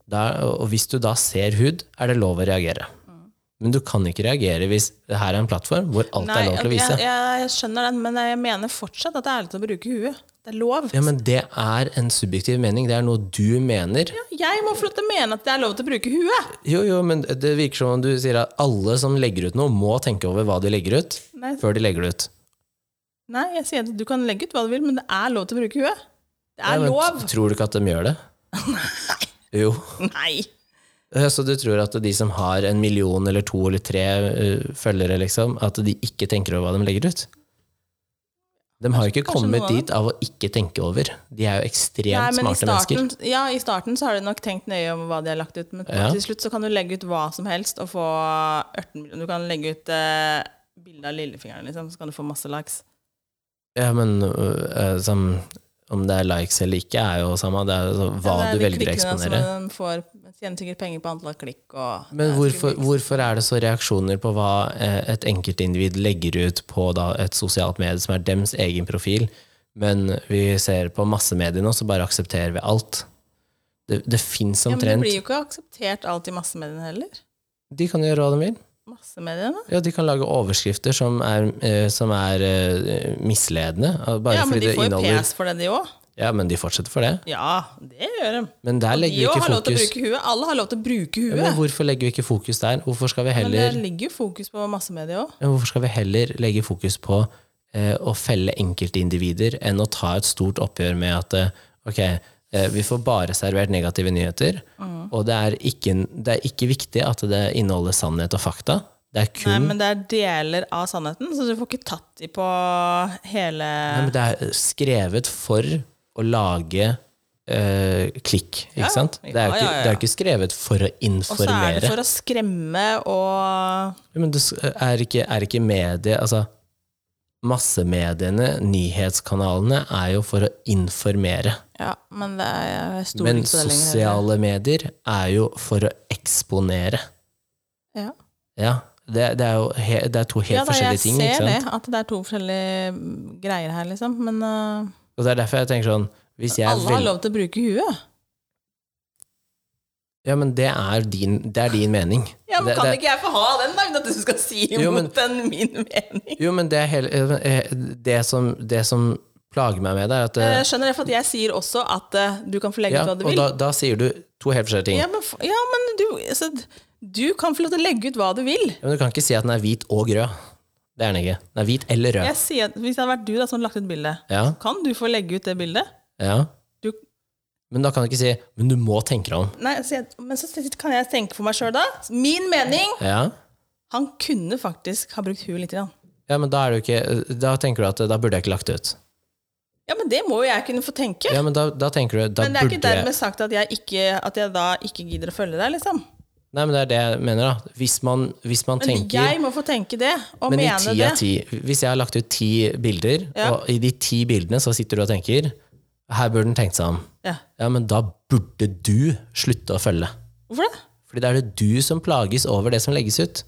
Speaker 1: da, og hvis du da ser hud, er det lov å reagere.
Speaker 2: Mm.
Speaker 1: Men du kan ikke reagere hvis det her er en plattform hvor alt er lov til å vise.
Speaker 2: Jeg, jeg, jeg skjønner den, men jeg mener fortsatt at det er lov til å bruke huet. Det er lov.
Speaker 1: Ja, men det er en subjektiv mening. Det er noe du mener.
Speaker 2: Jeg må få lov til å mene at det er lov til å bruke huet!
Speaker 1: Jo, jo, men det virker som om du sier at alle som legger ut noe, må tenke over hva de legger ut,
Speaker 2: Nei,
Speaker 1: før de legger det ut.
Speaker 2: nei, jeg sier at du kan legge ut hva du vil, men det er lov til å bruke huet. Det er
Speaker 1: Ja, men
Speaker 2: lov!
Speaker 1: t- Tror du ikke at de gjør det? Jo.
Speaker 2: Nei!
Speaker 1: Eh, Så du tror at de som har en million eller to eller tre eh, følgere, liksom, at de ikke tenker over hva de legger ut? De har jo ikke
Speaker 2: Kanskje
Speaker 1: kommet
Speaker 2: noe av
Speaker 1: dit av å ikke tenke over. De er jo ekstremt
Speaker 2: Nei, men i
Speaker 1: smarte
Speaker 2: starten,
Speaker 1: mennesker.
Speaker 2: ja, I starten så har de nok tenkt nøye om hva de har lagt ut, men
Speaker 1: Ja.
Speaker 2: til slutt så kan du legge ut hva som helst og få 18 millioner. Du kan legge ut eh, bilde av lillefingeren, liksom, så kan du få masse likes.
Speaker 1: Ja, men øh, eh, som, om det er likes eller ikke, er jo samme. Det er jo så- hva
Speaker 2: Ja, det er
Speaker 1: du
Speaker 2: de
Speaker 1: velger å
Speaker 2: klikkene altså, som
Speaker 1: eksponere.
Speaker 2: De får, tjener sikkert penger på antall klikk og
Speaker 1: Men hvorfor, hvorfor er det så reaksjoner på hva eh, et enkeltindivid legger ut på da et sosialt medie som er dems egen profil, men vi ser på massemediene, og så bare aksepterer vi alt? Det, det fins
Speaker 2: ja, men Det
Speaker 1: omtrent
Speaker 2: blir jo ikke akseptert alt i massemediene heller.
Speaker 1: De kan gjøre hva de vil.
Speaker 2: Massemediene?
Speaker 1: Ja, De kan lage overskrifter som er, eh, som er eh, misledende. eh, Bare
Speaker 2: Ja, men
Speaker 1: fordi
Speaker 2: de
Speaker 1: det
Speaker 2: får jo
Speaker 1: inneholder
Speaker 2: pes for det, de òg.
Speaker 1: Ja, men de fortsetter for det.
Speaker 2: Ja, det gjør de.
Speaker 1: Men der
Speaker 2: De
Speaker 1: legger vi
Speaker 2: òg
Speaker 1: ikke
Speaker 2: har lov til å
Speaker 1: fokus.
Speaker 2: bruke huet. Alle har lov til å bruke
Speaker 1: Ja,
Speaker 2: huet.
Speaker 1: men
Speaker 2: men,
Speaker 1: hvorfor legger vi ikke fokus der? Hvorfor skal vi heller
Speaker 2: det ligger jo fokus på massemedier òg.
Speaker 1: Ja, Hvorfor skal vi heller legge fokus på eh, å felle enkeltindivider enn å ta et stort oppgjør med at eh, ok, eh, vi får bare servert negative nyheter,
Speaker 2: Mm.
Speaker 1: og det er, ikke, det er ikke viktig at det inneholder sannhet og fakta. Det er kun
Speaker 2: Nei, men det er deler av sannheten, så du får ikke tatt de på hele
Speaker 1: Nei, men det er skrevet for å lage eh, klikk, ikke
Speaker 2: Ja,
Speaker 1: sant? Det er jo
Speaker 2: ja,
Speaker 1: ikke,
Speaker 2: ja, ja.
Speaker 1: det er jo ikke skrevet for å
Speaker 2: Og så er det
Speaker 1: informere.
Speaker 2: for å skremme og
Speaker 1: Ja, Men det s- er ikke, er ikke medie Altså, massemediene, nyhetskanalene, er jo for å informere.
Speaker 2: Ja, men det er, jeg stoler
Speaker 1: Men
Speaker 2: ikke på det lenger. heller.
Speaker 1: sosiale medier er jo for å eksponere.
Speaker 2: Ja.
Speaker 1: Ja. Det, det, er jo he, det er to helt
Speaker 2: ja, da, jeg
Speaker 1: forskjellige ting.
Speaker 2: ser
Speaker 1: Ikke sant?
Speaker 2: det, at det er to forskjellige mm, greier her, liksom. Men øh,
Speaker 1: Og det er derfor jeg tenker sånn hvis jeg
Speaker 2: alle har
Speaker 1: vel,
Speaker 2: lov til å bruke huet.
Speaker 1: Ja, men det er din, det er din mening.
Speaker 2: Ja, men
Speaker 1: det,
Speaker 2: Kan
Speaker 1: det,
Speaker 2: ikke jeg få ha den, da, uten at du skal si imot
Speaker 1: Jo, men-
Speaker 2: den min mening?
Speaker 1: Jo, men det er hele eh, Det som, det som plager meg med det, er at eh,
Speaker 2: Jeg skjønner det, for at jeg sier også at eh, du kan få legge
Speaker 1: ja,
Speaker 2: ut hva du
Speaker 1: Og
Speaker 2: vil.
Speaker 1: da, da sier du to helt forskjellige ting.
Speaker 2: Ja, men, f- ja, men du, så, du kan få lov til å legge ut hva du vil.
Speaker 1: Ja, Men du kan ikke si at den er hvit og rød. Det er den ikke. Den er hvit eller rød.
Speaker 2: Jeg sier, at hvis det hadde vært du da, som hadde lagt ut bildet,
Speaker 1: Ja,
Speaker 2: kan du få legge ut det bildet?
Speaker 1: ja.
Speaker 2: Du,
Speaker 1: Men da kan du ikke si 'men du må tenke deg om'.
Speaker 2: nei, så jeg, men så kan jeg tenke for meg sjøl, da. Min mening!
Speaker 1: Ja.
Speaker 2: Han kunne faktisk ha brukt huet litt. Grann.
Speaker 1: ja, men da er det jo ikke Da tenker du at da burde jeg ikke lagt det ut.
Speaker 2: Ja, men det må jo jeg kunne få tenke.
Speaker 1: Ja, men da, da tenker du da
Speaker 2: men det er ikke
Speaker 1: burde jeg-
Speaker 2: dermed sagt at jeg, ikke, at jeg da ikke gidder å følge deg, liksom.
Speaker 1: Nei, men det er det jeg mener, da. Hvis man, hvis man
Speaker 2: Men
Speaker 1: tenker
Speaker 2: jeg må få tenke det, og
Speaker 1: Men i
Speaker 2: mene
Speaker 1: ti
Speaker 2: det.
Speaker 1: av ti Hvis jeg har lagt ut ti bilder,
Speaker 2: Ja.
Speaker 1: og i de ti bildene så sitter du og tenker 'her burde den tenkt seg om',
Speaker 2: Ja.
Speaker 1: ja, men da burde du slutte å følge.
Speaker 2: Hvorfor det?
Speaker 1: Fordi da er det du som plages over det som legges ut,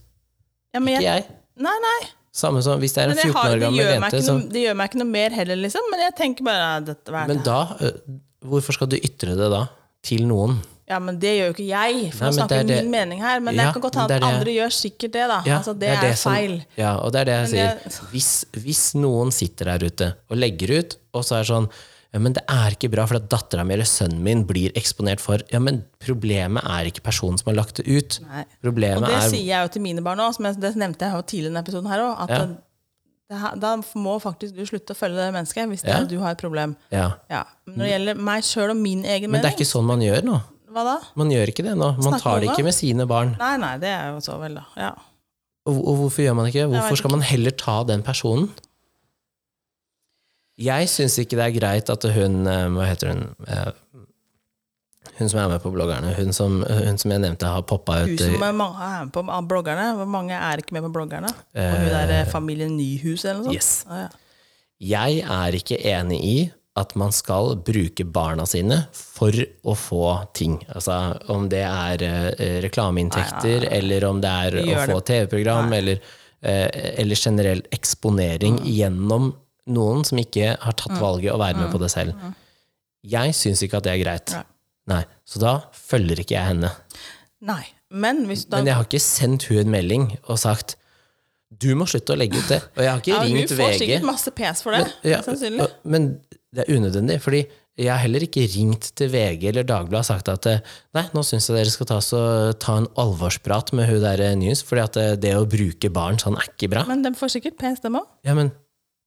Speaker 2: Ja,
Speaker 1: ikke
Speaker 2: men jeg,
Speaker 1: jeg.
Speaker 2: nei, nei.
Speaker 1: Samme som hvis det er en
Speaker 2: Men
Speaker 1: 14
Speaker 2: jeg har,
Speaker 1: år
Speaker 2: det,
Speaker 1: gammel
Speaker 2: gjør meg
Speaker 1: jente
Speaker 2: ikke
Speaker 1: som
Speaker 2: noe, det gjør meg ikke noe mer heller, liksom. Men jeg tenker bare "Nei, dette, hva er det?
Speaker 1: Men da, ø, hvorfor skal du ytre det da? Til noen?
Speaker 2: Ja, men det gjør jo ikke jeg, for
Speaker 1: Nei,
Speaker 2: nå
Speaker 1: men det
Speaker 2: snakker
Speaker 1: er
Speaker 2: jeg
Speaker 1: det-
Speaker 2: om min mening her. Men
Speaker 1: Ja,
Speaker 2: jeg kan godt
Speaker 1: men
Speaker 2: ha
Speaker 1: det er
Speaker 2: at
Speaker 1: det-
Speaker 2: andre gjør sikkert det, da.
Speaker 1: Ja,
Speaker 2: altså, det, er,
Speaker 1: som-
Speaker 2: feil.
Speaker 1: ja, og det er det jeg
Speaker 2: Men
Speaker 1: sier. Hvis, hvis noen sitter der ute og legger ut, og så er det sånn ja, men det er ikke bra, for at dattera mi eller sønnen min blir eksponert for Ja, men problemet er ikke personen som har lagt det ut.
Speaker 2: Nei. Og
Speaker 1: Problemet
Speaker 2: det
Speaker 1: er
Speaker 2: sier jeg jo til mine barn òg, som jeg, det nevnte jeg jo tidligere i denne episoden her òg. At
Speaker 1: Ja.
Speaker 2: det, det, her- da må faktisk du slutte å følge det mennesket hvis det
Speaker 1: Ja.
Speaker 2: er du har et problem.
Speaker 1: ja.
Speaker 2: Ja. Men Når det gjelder meg sjøl og min egen
Speaker 1: Men det er
Speaker 2: mening,
Speaker 1: ikke sånn man gjør nå.
Speaker 2: hva da?
Speaker 1: Man gjør ikke det nå. Man
Speaker 2: Snakker
Speaker 1: tar det
Speaker 2: om
Speaker 1: ikke
Speaker 2: det.
Speaker 1: med sine barn.
Speaker 2: Nei, nei, det er jo så vel, da. Ja.
Speaker 1: Og, og hvorfor gjør man ikke det? Hvorfor
Speaker 2: vet
Speaker 1: skal man heller ta den personen? Jeg syns ikke det er greit at hun eh, Hva heter hun? eh, Hun som er med på bloggerne. Hun som, hun som jeg nevnte har poppa
Speaker 2: Hun
Speaker 1: ut.
Speaker 2: som
Speaker 1: eh,
Speaker 2: er, mange er med på av bloggerne. Hvor mange er ikke med på bloggerne? Og hun der eh, familien Nyhus eller noe sånt?
Speaker 1: Yes.
Speaker 2: Ah, ja.
Speaker 1: Jeg er ikke enig i at man skal bruke barna sine for å få ting. Altså om det er eh, reklameinntekter, eller om det er å
Speaker 2: gjør
Speaker 1: få TV-program, eller, eh, eller generell eksponering
Speaker 2: Mm.
Speaker 1: gjennom noen som ikke har tatt valget å være med på det selv. Jeg syns ikke at det er greit.
Speaker 2: Mm. Nei.
Speaker 1: Nei, Så da følger ikke jeg henne.
Speaker 2: Nei. Men hvis da
Speaker 1: Men jeg har ikke sendt hun en melding og sagt 'du må slutte å legge ut det'. Og jeg har ikke
Speaker 2: ja, Hun
Speaker 1: ringt
Speaker 2: får
Speaker 1: VG.
Speaker 2: sikkert masse pes for det,
Speaker 1: Ja,
Speaker 2: sannsynlig.
Speaker 1: og- Men det er unødvendig, fordi jeg har heller ikke ringt til VG eller Dagbladet og sagt at eh, nei, nå syns jeg dere skal ta, så, ta en alvorsprat med hun der eh, News, fordi at eh, det å bruke barn sånn er ikke bra.
Speaker 2: Men de får sikkert pes, dem òg. Ah,
Speaker 1: Ja, men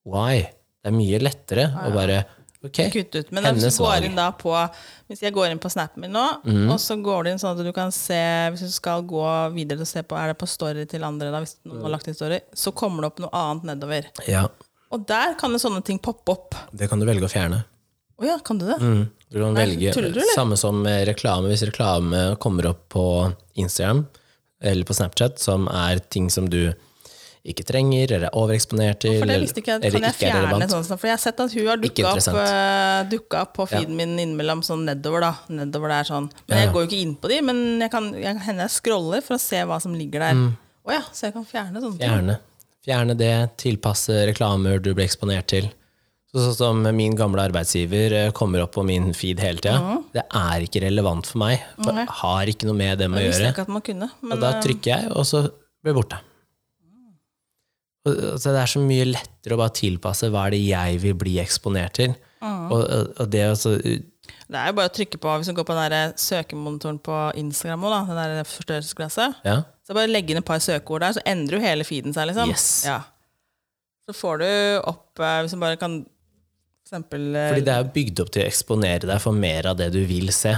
Speaker 1: why? Det er mye lettere å bare Ok.
Speaker 2: kutte ut. Men hvis
Speaker 1: Hennes
Speaker 2: du går
Speaker 1: valg. Mhm.
Speaker 2: inn da på Hvis jeg går inn på snappen min nå, og så går du inn sånn at du kan se Hvis du skal gå videre og se på Er det på story til andre, da, hvis
Speaker 1: Mm.
Speaker 2: noen har lagt inn story, så kommer det opp noe annet nedover.
Speaker 1: Ja,
Speaker 2: Og der kan jo sånne ting poppe opp.
Speaker 1: det kan du velge å fjerne.
Speaker 2: Å ja, kan du det?
Speaker 1: Mm. Du kan velge
Speaker 2: tuller du, eller?
Speaker 1: Samme som eh, reklame. Hvis reklame kommer opp på Instagram eller på Snapchat, som er ting som du ikke trenger, eller er overeksponert til,
Speaker 2: For det visste ikke jeg. Kan jeg
Speaker 1: er
Speaker 2: fjerne
Speaker 1: relevant.
Speaker 2: sånn? For jeg har sett at hun har
Speaker 1: Ikke
Speaker 2: dukka opp,
Speaker 1: interessant.
Speaker 2: eh, dukket opp på feeden min innimellom, sånn nedover, da. Nedover der, sånn. Men jeg går jo ikke inn på de, men jeg kan, jeg, hender jeg scroller for å se hva som ligger der. Å ja, så jeg kan fjerne sånne ting.
Speaker 1: Mm. Fjerne. Fjerne det, tilpasse reklamer du blir eksponert til. Så- Sånn som min gamle arbeidsgiver eh, kommer opp på min feed hele tida. Det er ikke relevant for meg. For
Speaker 2: Mm. Nei.
Speaker 1: Har ikke noe med dem å
Speaker 2: Jeg visste
Speaker 1: gjøre.
Speaker 2: ikke at man kunne. Men eh, Mm.
Speaker 1: Og da trykker jeg, og så blir det borte. Og- og Så det er så mye lettere å bare tilpasse hva er det jeg vil bli eksponert til.
Speaker 2: Mm.
Speaker 1: Og, og- og det er altså, også
Speaker 2: eh, det er jo bare å trykke på hvis du går på den der eh, søkemonitoren på Instagram òg, den der eh, forstørrelsesglasset.
Speaker 1: Ja,
Speaker 2: Så bare legg inn et par søkeord der, så endrer jo hele feeden seg, liksom.
Speaker 1: Yes.
Speaker 2: Ja. Så får du opp eh, Hvis du bare kan for eksempel eh,
Speaker 1: fordi det er jo bygd opp til å eksponere deg for mer av det du vil se.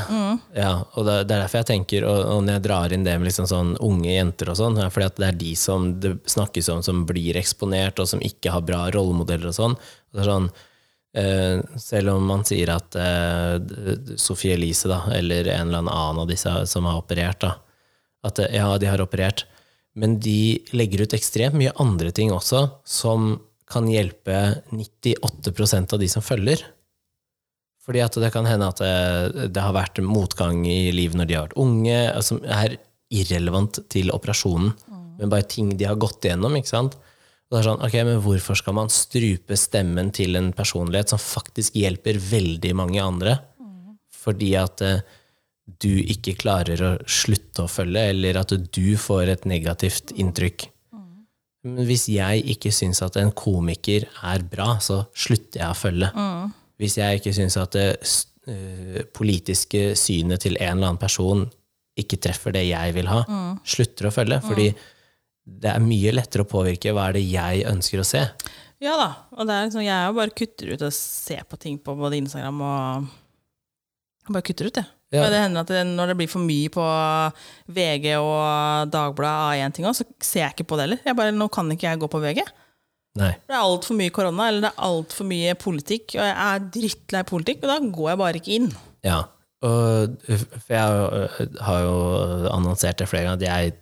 Speaker 1: Ja, og det er det er derfor jeg tenker, og, og når jeg drar inn det med liksom sånn unge jenter og sånn, er fordi at det er de som det snakkes om som blir eksponert, og som ikke har bra rollemodeller og sånn. Og det er sånn eh, selv om man sier at uh, Sophie Elise, da, eller en eller annen av disse som har operert, da, at eh, ja, de har operert, men de legger ut ekstremt mye andre ting også, som kan hjelpe 98 av de som følger. Fordi at det kan hende at eh, det, det har vært motgang i livet når de har vært unge, som er irrelevant til operasjonen, men bare ting de har gått igjennom, ikke sant? Og det er sånn, ok, men hvorfor skal man strupe stemmen til en personlighet som faktisk hjelper veldig mange andre? Fordi at eh, du ikke klarer å slutte å følge, eller at du får et negativt inntrykk. Men hvis jeg ikke syns at en komiker er bra, så slutter jeg å følge. Hvis jeg ikke syns at det s- eh, politiske synet til en eller annen person ikke treffer det jeg vil ha, slutter å følge. Fordi det er mye lettere å påvirke hva er det jeg ønsker å se.
Speaker 2: Ja da. Og det er liksom, jeg er jo bare kutter ut og ser på ting på både Instagram og jeg bare kutter ut, jeg.
Speaker 1: Ja.
Speaker 2: Og det hender at det, når det blir for mye på VG og Dagbladet A1-ting òg, så ser jeg ikke på det heller. Jeg bare, nå kan ikke jeg gå på VG.
Speaker 1: Nei.
Speaker 2: Det er altfor mye korona, eller det er altfor mye politikk, og jeg er drittlei politikk, og da går jeg bare ikke inn.
Speaker 1: Ja. Og, eh, for jeg har jo- eh, har jo annonsert det flere ganger at jeg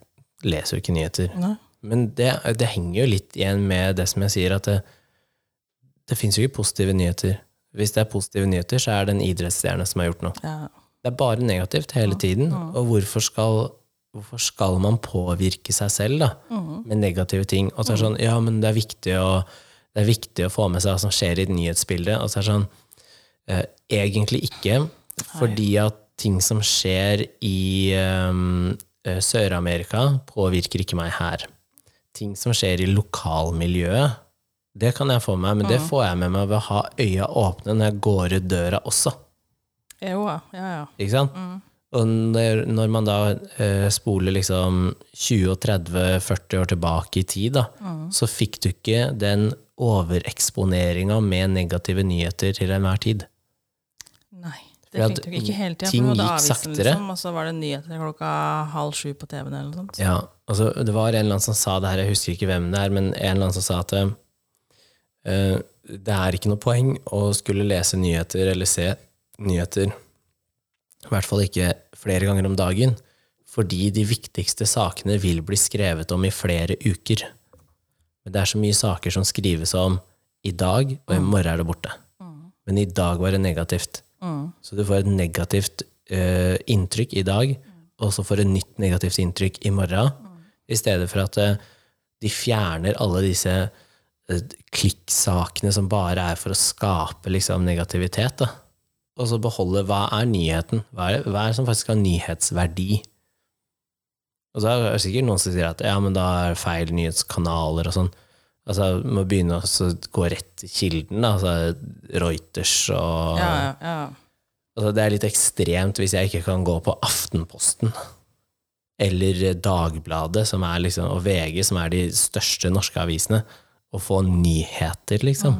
Speaker 1: leser jo ikke nyheter.
Speaker 2: Nei.
Speaker 1: Men det, det henger jo litt igjen med det som jeg sier, at det, det fins jo ikke positive nyheter. Hvis det er positive nyheter, så er det en idrettsstjerne som har gjort noe.
Speaker 2: Ja.
Speaker 1: Det er bare negativt hele tiden. Og hvorfor skal, hvorfor skal man påvirke seg selv da, med negative ting? Og så er det sånn, ja, men det er viktig å, det er viktig å få med seg hva som skjer i nyhetsbildet. Og så er det sånn, eh, egentlig ikke, fordi at ting som skjer i ehm, eh, Sør-Amerika påvirker ikke meg her. Ting som skjer i lokalmiljøet, det kan jeg få med meg, men det får jeg med meg ved å ha øya åpne når jeg går ut døra også.
Speaker 2: Jo, ja, ja, ja.
Speaker 1: Ikke sant? Og når, når man da eh, spoler liksom 20, og 30, 40 år tilbake i tid, da, så fikk du ikke den overeksponeringa med negative nyheter til enhver tid.
Speaker 2: Nei.
Speaker 1: For
Speaker 2: Det
Speaker 1: at
Speaker 2: tenkte jeg ikke hele tida.
Speaker 1: ting
Speaker 2: for vi hadde
Speaker 1: gikk
Speaker 2: avisen,
Speaker 1: saktere.
Speaker 2: Liksom, og så var det nyheter klokka halv sju på TV-en eller noe sånt.
Speaker 1: Ja, altså, det var en eller annen som sa det her, jeg husker ikke hvem det er, men en eller annen som sa at eh, det er ikke noe poeng å skulle lese nyheter eller se nyheter, i hvert fall ikke flere ganger om dagen, fordi de viktigste sakene vil bli skrevet om i flere uker. Men det er så mye saker som skrives om i dag, og i morgen er det borte. Men i dag var det negativt.
Speaker 2: Mm.
Speaker 1: Så du får et negativt eh, inntrykk i dag, og så får du et nytt negativt inntrykk i morgen, i stedet for at eh, de fjerner alle disse eh, klikksakene som bare er for å skape liksom, negativitet. Da. Og så beholde hva er nyheten? Hva er, det, hva er det som faktisk har nyhetsverdi? Og så er det sikkert noen som sier at ja, men da er det feil nyhetskanaler og sånn. Altså, Må begynne å så gå rett til kilden, da. Altså Reuters og
Speaker 2: Ja, ja, ja.
Speaker 1: Altså, det er litt ekstremt hvis jeg ikke kan gå på Aftenposten eller Dagbladet som er liksom, og VG,
Speaker 2: Mm.
Speaker 1: som er de største norske avisene, og få nyheter, liksom.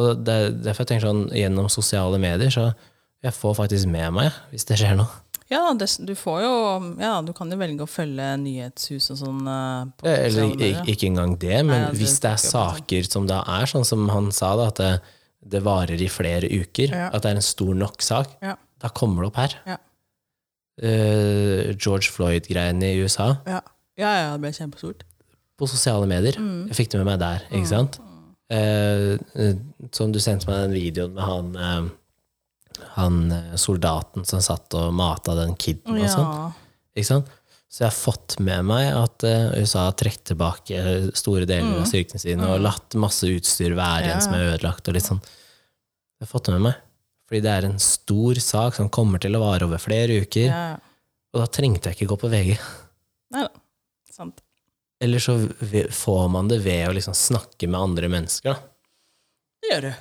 Speaker 1: Og det er derfor jeg tenker sånn, gjennom sosiale medier, så jeg får faktisk med meg, hvis det skjer noe.
Speaker 2: Ja, da, det, du får jo Ja, du kan jo velge å følge nyhetshus og sånn. eh, på
Speaker 1: Eller
Speaker 2: sosiale medier.
Speaker 1: ik- ikke engang det, men
Speaker 2: Nei, ja, det
Speaker 1: hvis det er
Speaker 2: tenker
Speaker 1: saker som da er sånn som han sa, da, at det, det varer i flere uker,
Speaker 2: Ja.
Speaker 1: at det er en stor nok sak,
Speaker 2: Ja.
Speaker 1: da kommer det opp her.
Speaker 2: Ja.
Speaker 1: Eh, George Floyd-greiene i USA,
Speaker 2: Ja. ja, ja, det ble kjempestort.
Speaker 1: på sosiale medier.
Speaker 2: Mm.
Speaker 1: Jeg fikk det med meg der, ikke sant? Eh, eh, som du sendte meg den videoen med han, eh, han eh, soldaten som satt og mata den kiden og sånn.
Speaker 2: Ja.
Speaker 1: Ikke sant? Så jeg har fått med meg at eh, USA har trukket tilbake eh, store deler av styrkene sine og latt masse utstyr være
Speaker 2: Mm. Ja.
Speaker 1: igjen som er ødelagt. og litt sånn. Jeg har fått det med meg. Fordi det er en stor sak som kommer til å vare over flere uker.
Speaker 2: ja.
Speaker 1: Og da trengte jeg ikke gå på VG.
Speaker 2: Nei da. Sant.
Speaker 1: Eller så v- får man det ved å liksom snakke med andre mennesker. Da.
Speaker 2: Det gjør du.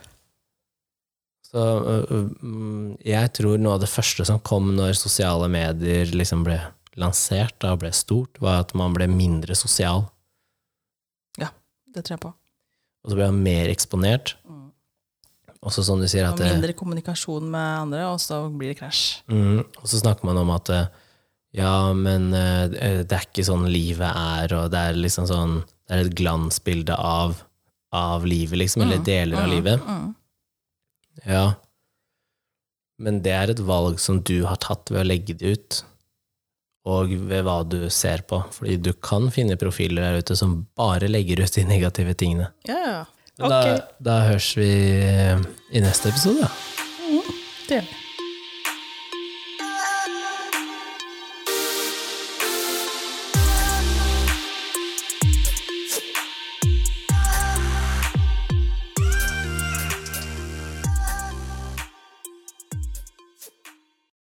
Speaker 1: Så øh, mm, jeg tror noe av det første som kom når sosiale medier liksom ble lansert da, og ble stort, var at man ble mindre sosial.
Speaker 2: Det tror jeg på.
Speaker 1: Og så ble man mer eksponert.
Speaker 2: Mm.
Speaker 1: Også som du sier
Speaker 2: Og
Speaker 1: at det,
Speaker 2: mindre kommunikasjon med andre, og så blir det krasj.
Speaker 1: mm, Og så snakker man om at eh, ja, men eh, det er ikke sånn livet er, og det er liksom sånn Det er et glansbilde av, av livet, liksom, eller deler av livet.
Speaker 2: Mm.
Speaker 1: Ja. Men det er et valg som du har tatt ved å legge det ut, og ved hva du ser på. Fordi du kan finne profiler der ute som bare legger ut de negative tingene.
Speaker 2: Ja, ja.
Speaker 1: Men
Speaker 2: Ok.
Speaker 1: Da, da høres vi i eh, neste episode, da.
Speaker 2: Det gjør vi.